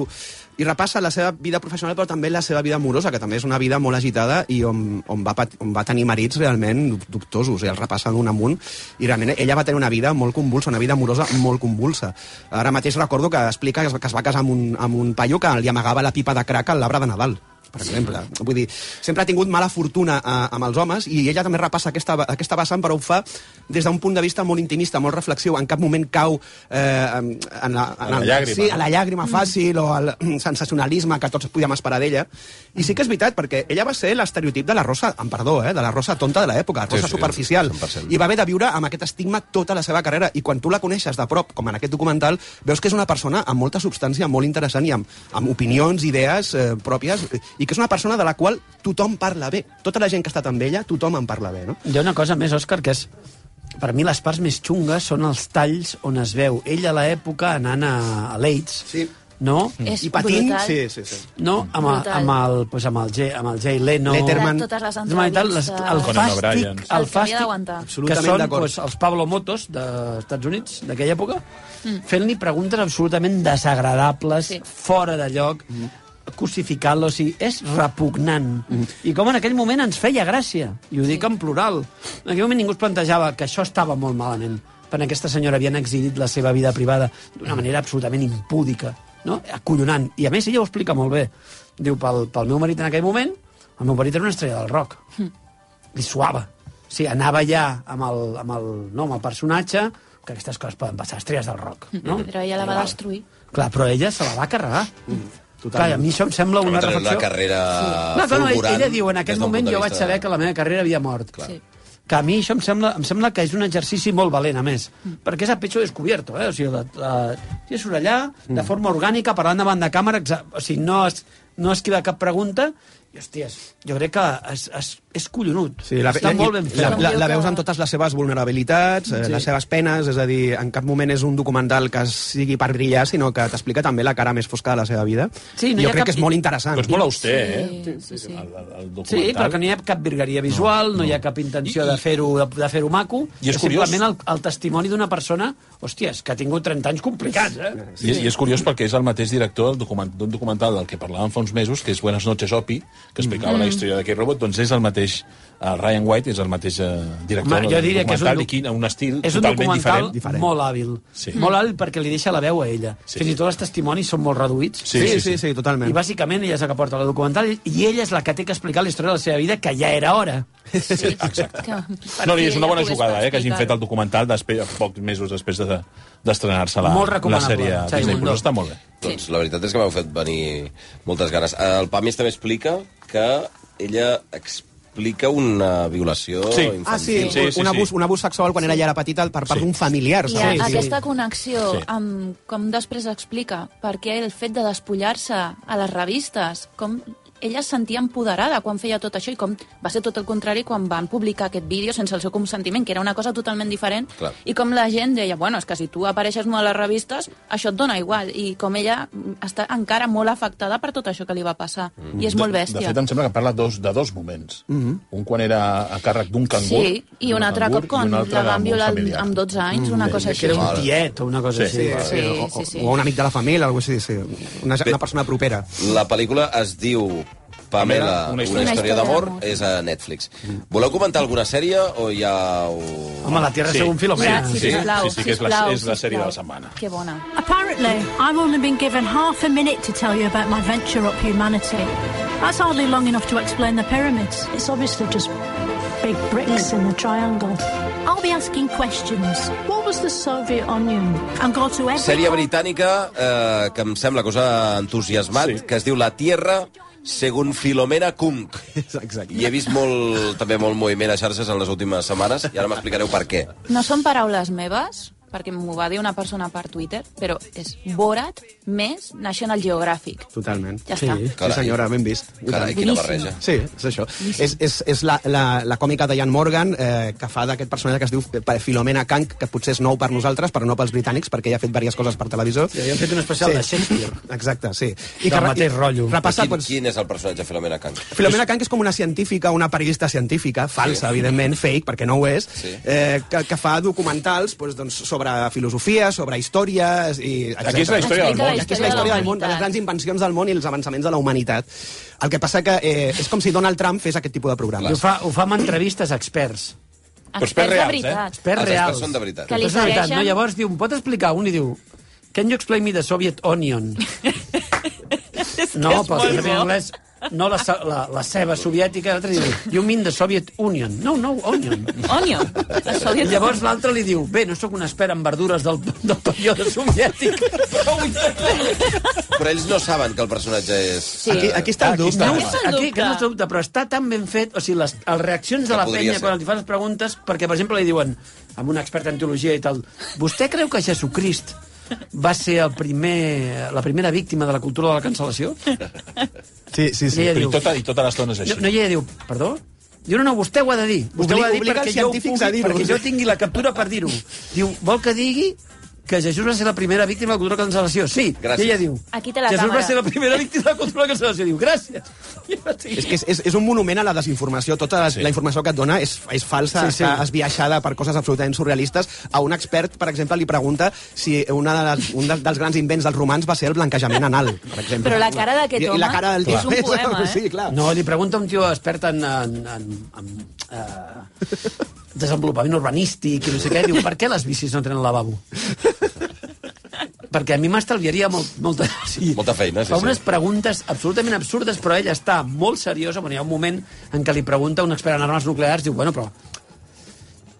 I repassa la seva vida professional, però també la seva vida amorosa, que també és una vida molt agitada i on, on, va, pat- on va tenir marits realment dubtosos, i els repassa d'un amunt. I realment ella va tenir una vida molt convulsa, una vida amorosa molt convulsa. Ara mateix recordo que explica que es va- que es va casar amb un, amb un paio que li amagava la pipa de crack al l'arbre de Nadal. per exemple. Vull dir, sempre ha tingut mala fortuna eh, amb els homes i ella també repassa aquesta, aquesta vessant, però ho fa des d'un punt de vista molt intimista, molt reflexiu. En cap moment cau eh, en, en, la, en
la
el-
llàgrima,
Sí,
no?
a la llàgrima fàcil o al mm, sensacionalisme que tots podíem esperar d'ella. I sí que és veritat, perquè ella va ser l'estereotip de la rosa, amb perdó, eh, de la rosa tonta de l'època, rosa
sí,
superficial. I va haver de viure amb aquest estigma tota la seva carrera. I quan tu la coneixes de prop, com en aquest documental, veus que és una persona amb molta substància, molt interessant i amb, amb opinions, idees eh, pròpies, eh, i que és una persona de la qual tothom parla bé. Tota la gent que ha estat amb ella, tothom en parla bé, no?
Hi ha una cosa més, Òscar, que és... Per mi les parts més xungues són els talls on es veu ell a l'època anant a, a l'Aids, sí. no?
Mm. És
I patint,
brutal.
Sí, sí, sí.
no? Amb, el-
Brutal.
amb, el, pues, amb, el, Jay, amb el Jay Leno...
Letterman. Totes les
De veritat, les, el
entrevistes. Conan O'Brien. El
fàstic, el
que havia
fàstic
d'aguantar.
que
Absolutament
són
d'acord.
pues, els Pablo Motos dels Estats Units d'aquella època, fent-li preguntes absolutament desagradables, sí. fora de lloc, crucificant-lo, o sigui, és repugnant. I com en aquell moment ens feia gràcia, i ho dic en plural. En aquell moment ningú es plantejava que això estava molt malament, perquè aquesta senyora havien exhibit la seva vida privada d'una manera absolutament impúdica, no? acollonant. I a més ella ho explica molt bé. Diu, pel, pel meu marit en aquell moment, el meu marit era una estrella del rock li suava. O sigui, anava ja amb el, amb el, no, amb el personatge, que aquestes coses poden passar, estrelles del rock. No?
Mm-hmm.
Però ella la va destruir.
Clar, però ella se la va carregar. Clar, a mi això em sembla
Va
una
tenir
reflexió...
una carrera
No, clar, no, ella,
fulgurant
ella diu, en
des
aquell
d'un
moment
punt de
jo vaig
vista-
saber que la meva carrera havia mort.
Sí.
Que a mi això em sembla, em sembla que és un exercici molt valent, a més.
Mm.
Perquè és a pecho descobierto, eh? O sigui, la, la, és sobre allà,
Mm.
de forma orgànica, parlant davant de càmera, exa- o sigui, no, es, no esquiva cap pregunta, i, hòsties, jo crec que és, és, és collonut.
Sí, la,
Està
la,
molt ben fet.
la, la, la veus amb totes les seves vulnerabilitats, eh,
Sí.
sí. les seves penes, és a dir, en cap moment és un documental que sigui per brillar, sinó que t'explica també la cara més fosca de la seva vida.
Sí, no hi
jo
ha
crec
cap-
que és molt interessant.
Però és molt auster, eh?
Sí, sí, sí.
El, el, el
Sí,
documental.
però que no hi ha cap virgueria visual, no, no hi ha cap intenció de fer-ho de, de fer maco,
I és curiós.
simplement el, el testimoni d'una persona, hòsties, que ha tingut 30 anys complicats, eh?
I, I és curiós perquè és el mateix director del document, d'un documental del que parlàvem fa uns mesos, que és Buenas noches, Opi, que explicava
Mm.
la història d'aquell robot, doncs és el mateix, el Ryan White és el mateix eh, director
Home, jo
del
diria que és un
documental
doc-
i quin, un estil
És un
totalment
documental
diferent.
molt hàbil.
Sí.
Molt hàbil perquè li deixa la veu a ella. Sí. Fins i tot els testimonis són molt reduïts.
Sí, sí, sí, sí, sí, totalment.
I bàsicament ella és la que porta el documental i ella és la que té que explicar la història de la seva vida, que ja era hora.
Sí, exacte.
Que...
No, no, i és una bona jugada, eh, que hagin
explicar-ho.
fet el documental després, pocs mesos després de- d'estrenar-se de,
Molt
la, la
recomanable,
sèrie
Xavi
Disney+.
Mundó.
Plus. Està molt bé.
Doncs la veritat és que m'heu fet venir moltes ganes. Eh, El Pamis també explica que ella explica una violació
Sí.
infantil.
Ah, sí, sí, sí, un, abús, un abús sexual quan era ja era petita per part d'un familiar.
I
segons.
sí, aquesta connexió
Sí.
sí. amb com després explica perquè el fet de despullar-se a les revistes, com ella es sentia empoderada quan feia tot això i com va ser tot el contrari quan van publicar aquest vídeo sense el seu consentiment, que era una cosa totalment diferent
Clar.
i com la gent deia, bueno, és que si tu apareixes molt a les revistes, això et dona igual i com ella mm, està encara molt afectada per tot això que li va passar mm. i és molt bèstia. Mhm.
De, de fet, em sembla que parla dos, de dos moments. Mm -hmm. Un quan era a càrrec d'un cangur.
Sí, i un altre cop quan la van violar amb 12 anys,
Mm.
una cosa així.
tiet o una
cosa així. Sí, sí,
o,
sí.
o un amic de la família, o alguna cosa així. Sí. Una, una persona propera.
La pel·lícula es diu Pamela, una història, una història d'amor, és a Netflix. Voleu comentar alguna sèrie o ja ho...
Home, La Tierra Sí. según Filomena.
Sí, sí, sí, sí, que és la,
sisplau,
és la sèrie de la setmana.
Que bona. Apparently, I've only been given half a minute to tell you about my venture up humanity. That's hardly long enough to explain the pyramids. It's obviously just big bricks in a triangle. I'll be asking questions. What was the Soviet Union? And go to every...
Sèrie britànica eh, que em sembla que us ha entusiasmat, sí. que es diu La Tierra según Filomena Kunk.
Exacte.
I he vist molt, també molt moviment a xarxes en les últimes setmanes, i ara m'explicareu per què.
No són paraules meves, perquè m'ho va dir una persona per Twitter, però és Borat més National Geographic.
Totalment.
Ja està.
Sí,
Carai.
sí senyora, ben vist. I
Carai,
tant.
quina barreja.
Sí, és això. És, és, és la, la, la còmica de Jan Morgan, eh, que fa d'aquest personatge que es diu F- Filomena Kank, que potser és nou per nosaltres, però no pels britànics, perquè ella ha fet diverses coses per televisió.
Sí, havien fet un especial de Shakespeare.
Exacte, sí.
Del mateix rotllo.
Repassa,
quin,
doncs,
quin és el personatge de Filomena Kunk?
Filomena Kang és com una científica, una periodista científica, falsa, sí. evidentment, fake, perquè no ho és,
Sí.
sí. eh, que, que fa documentals doncs, doncs, sobre filosofia, sobre històries... I, etcètera.
Aquí és la història del Explica la món.
Aquí és la història del món, de les grans invencions del món i els avançaments de la humanitat. El que passa que eh, és com si Donald Trump fes aquest tipus de
I
programa.
ho fa, ho fa amb entrevistes a experts.
Però experts de reals, eh? veritat.
Experts
Els
reals.
experts són de veritat. Que li
Experts de veritat. No,
segueixen-
llavors diu, em pot explicar? Un i diu, can you explain me the Soviet Onion? no,
és
pel
molt
que en
bo.
anglès, no la, ce- la, la ceba soviètica, l'altre li diu, you mean the Soviet Union. No, no, Onion.
Onion. La
I
Soviet
llavors l'altre li diu, bé, no sóc un expert en verdures del, del període soviètic.
Però ells no saben que el personatge és... eh,
Aquí, està el aquí que no és dubte, però està tan ben fet, o sigui, les, les reaccions
Que
de la
podria
penya
ser.
quan els hi fan les preguntes, perquè, per exemple, li diuen, amb un expert en teologia i tal, vostè creu que Jesucrist va ser el primer, la primera víctima de la cultura de la cancel·lació?
Sí, sí,
I ella diu-
Però i tota, i tota l'estona és
No,
així.
no, i ella diu, perdó? Diu, no, no, vostè ho ha de dir. Vostè
Obli-
ho ha de dir
obliga
perquè
els
jo, ho
científics a
pugui,
dir-ho.
perquè jo tingui la captura per dir-ho. Diu, vol que digui que Jesús va ser la primera víctima de la cultura de la cancel·lació? Sí.
Gràcies.
I ella diu,
Aquí té la
Jesús
càmera.
va ser la primera víctima de la cultura de la cancel·lació. Diu, gràcies.
És que és, és, és un monument a la desinformació. Tota sí. la informació que et dona és, és falsa,
Sí,
sí,
sí.
sí. està esbiaixada per coses absolutament surrealistes. A un expert, per exemple, li pregunta si una de les, un de, dels grans invents dels romans va ser el blanquejament anal, per exemple.
Però la cara d'aquest
I, I
home
la cara del tio
és un poema, eh?
Sí, clar.
No, li pregunta un tio expert en, en, en, en eh, desenvolupament urbanístic i no sé què, diu, per què les bicis no tenen lavabo? Perquè a mi m'estalviaria molt, molta... Sí,
Molta feina, sí,
fa
sí.
unes preguntes absolutament absurdes, però ell està molt seriosa. Bueno, hi ha un moment en què li pregunta un expert en armes nuclears, diu, bueno, però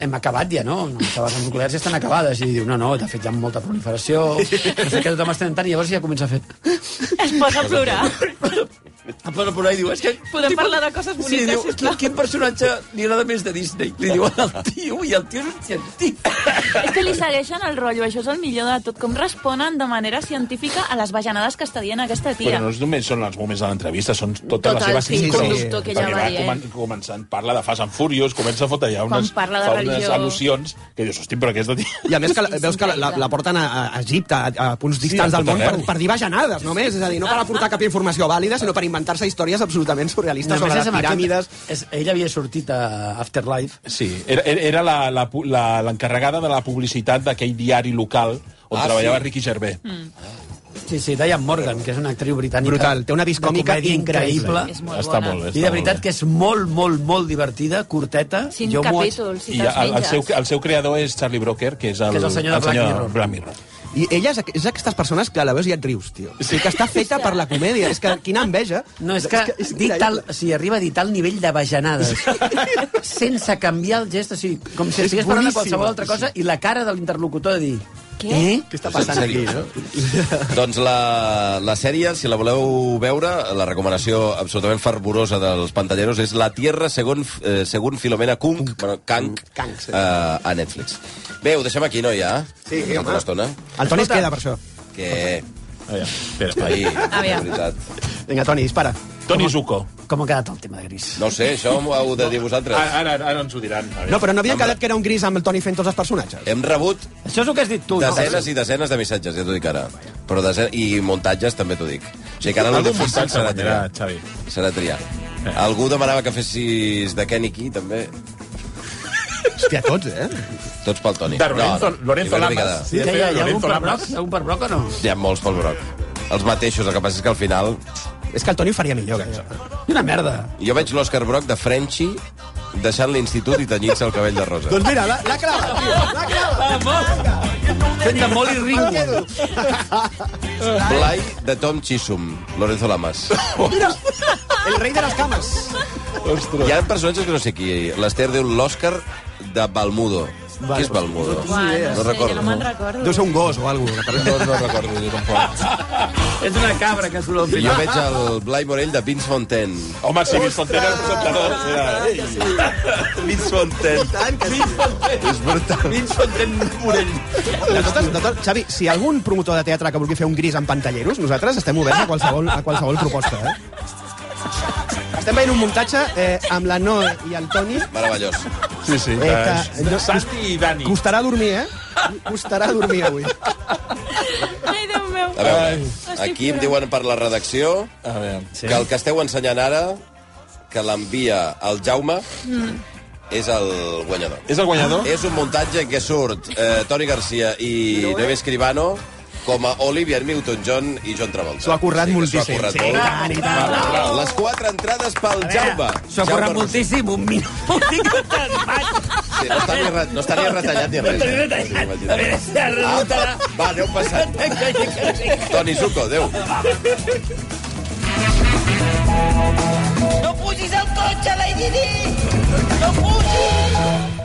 hem acabat ja, no? Les armes nuclears ja estan acabades. I diu, no, no, de fet hi ha molta proliferació, no sé què tothom està intentant, i llavors ja comença a fer...
Es posa a plorar.
A posa a plorar i diu, és que...
Podem parlar de coses
Sí,
boniques,
diu,
sí,
quin, quin personatge li agrada més de Disney? Li diuen al tio, i el tio és un científic.
És que li segueixen el rotllo, això és el millor de tot, com responen de manera científica a les bajanades que està dient aquesta
Però
tia.
no és només són els moments de l'entrevista, són totes
Tot
les
el
seves
fil
síncrones.
conductor que ella
Perquè
va
va
dir, eh?
comen començant, parla de Fast and Furious, comença a fotre ja
Quan
unes,
parla de
fa unes
religió.
al·lucions que dius, hosti, però aquesta tia...
I a més que la, veus que la- la, la porten a, a Egipte, a, a punts distants
a
del
tot
món, per,
arreu.
per dir bajanades, només. És a dir, no per aportar cap informació vàlida, sinó per inventar-se històries absolutament surrealistes sobre les piràmides.
és, ella havia sortit a Afterlife.
Sí, era, era era la- la pu- la- l'encarregada de la publicitat d'aquell diari local on
Ah,
treballava
sí?
Ricky Gervais.
Sí, sí, Diane Morgan, que és una actriu britànica.
Brutal, té una vis
de
còmica
comèdia
increïble.
És molt Està bona. molt bé,
I
està
de veritat
molt
que és molt, molt, molt divertida, curteta.
Cinc
Jo m'ho haig-
capítols, si
I
te'ls
el, el,
menges.
seu, el seu creador és Charlie Brooker, que és el,
Que és el senyor de Black Mirror.
Black Mirror.
I ella és, és d'aquestes persones que a la veus i et rius, tio. O sigui, que està feta per la comèdia. És que quina enveja.
No, és que, és dir tal, o sigui, arriba a dir tal nivell de bajanades, sense canviar el gest, o sigui, com si
És
estigués parlant de
boníssima.
qualsevol altra cosa, i la cara de l'interlocutor de dir...
Què?
Eh?
Què està
passant aquí, no? Doncs la, la sèrie, si la voleu veure, la recomanació absolutament fervorosa dels pantalleros és La Tierra segon, eh, segon Filomena Kung, bueno, Kank, eh, a Netflix. Bé, ho deixem aquí, no, ja? Sí, home. Una estona.
El Toni es queda per això.
Que...
Ah, ja.
Ahí, de
Aviam.
veritat.
Vinga, Toni, dispara.
Toni Zuko.
Com ha quedat el tema de Gris?
No ho sé, això m'ho heu de dir vosaltres.
Ara, ara, ara ens ho diran. A veure.
No, però no havia quedat que era un gris amb el Toni fent tots els personatges.
Hem rebut
Això és el que has dit tu,
desenes i desenes de missatges, ja t'ho dic ara. Però desenes, I muntatges també t'ho dic. O sigui que ara el
Algun
difícil
muntatge
serà
guanyarà,
triar.
Xavi.
Serà triar. Algú demanava que fessis de Kenny Key, també.
Hòstia, tots, eh?
Tots pel Toni.
De Lorenzo- Lorenzo
hi va una
Lamas.
mica de-
Sí, hi ha, hi ha, hi ha algun per broc? Hi ha algun per broc o no?
Hi ha molts pel Broc. Els mateixos, el que passa és que al final...
És que el Toni ho faria millor, que això.
Una merda.
Jo veig l'Òscar Broc de Frenchy deixant l'institut i tenyint-se el cabell de rosa.
Doncs mira, la, la clava, tio, la clava.
Fent de Molly Ringwald.
Blai de Tom Chisum, Lorenzo Lamas.
Mira, el rei de les cames.
Hi ha personatges que no sé qui. L'Ester diu l'Òscar de Balmudo. Qui és Balmudo?
Uah, no,
No
sé, jo no me'n
recordo.
recordo.
Deu ser un gos o alguna cosa.
No, no recordo, jo tampoc.
És una cabra que surt al
Jo
final.
veig el Blai Morell de Vince Fontaine.
Home, si Vince Fontaine era el presentador, era ell.
Vince Fontaine.
Vince
Fontaine. És brutal.
Vince Fontaine Morell.
De totes, de tot, Xavi, si hi ha algun promotor de teatre que vulgui fer un gris amb pantalleros, nosaltres estem oberts a qualsevol, a qualsevol proposta, eh? Estem veient un muntatge eh, amb la Noe i el Toni
Meravellós.
Sí, sí.
Eh, que-
Eh,
no-
Santi i Dani.
Costarà dormir, eh? Costarà dormir avui.
Ai, Déu meu.
A veure,
Estic
aquí em
plorant.
diuen per la redacció que el que esteu ensenyant ara, que l'envia el Jaume,
Mm.
és el guanyador.
És el guanyador?
És un muntatge en què surt eh, Toni Garcia i Noé Escribano com a Olivia Newton-John i John Travolta.
S'ho ha currat moltíssim.
S'ho ha currat
Sí,
molt.
i tant, i tant.
Bravo, bravo. Les quatre entrades pel Jaume.
S'ho ha currat Eh, moltíssim, un minut.
Sí, no està ni, re... no està ni retallat ni res. eh?
A veure si ha rebut a la...
Va, aneu passant. Toni Zuko, adéu.
Thank
No pugis al cotxe, Lady Di! No pugis!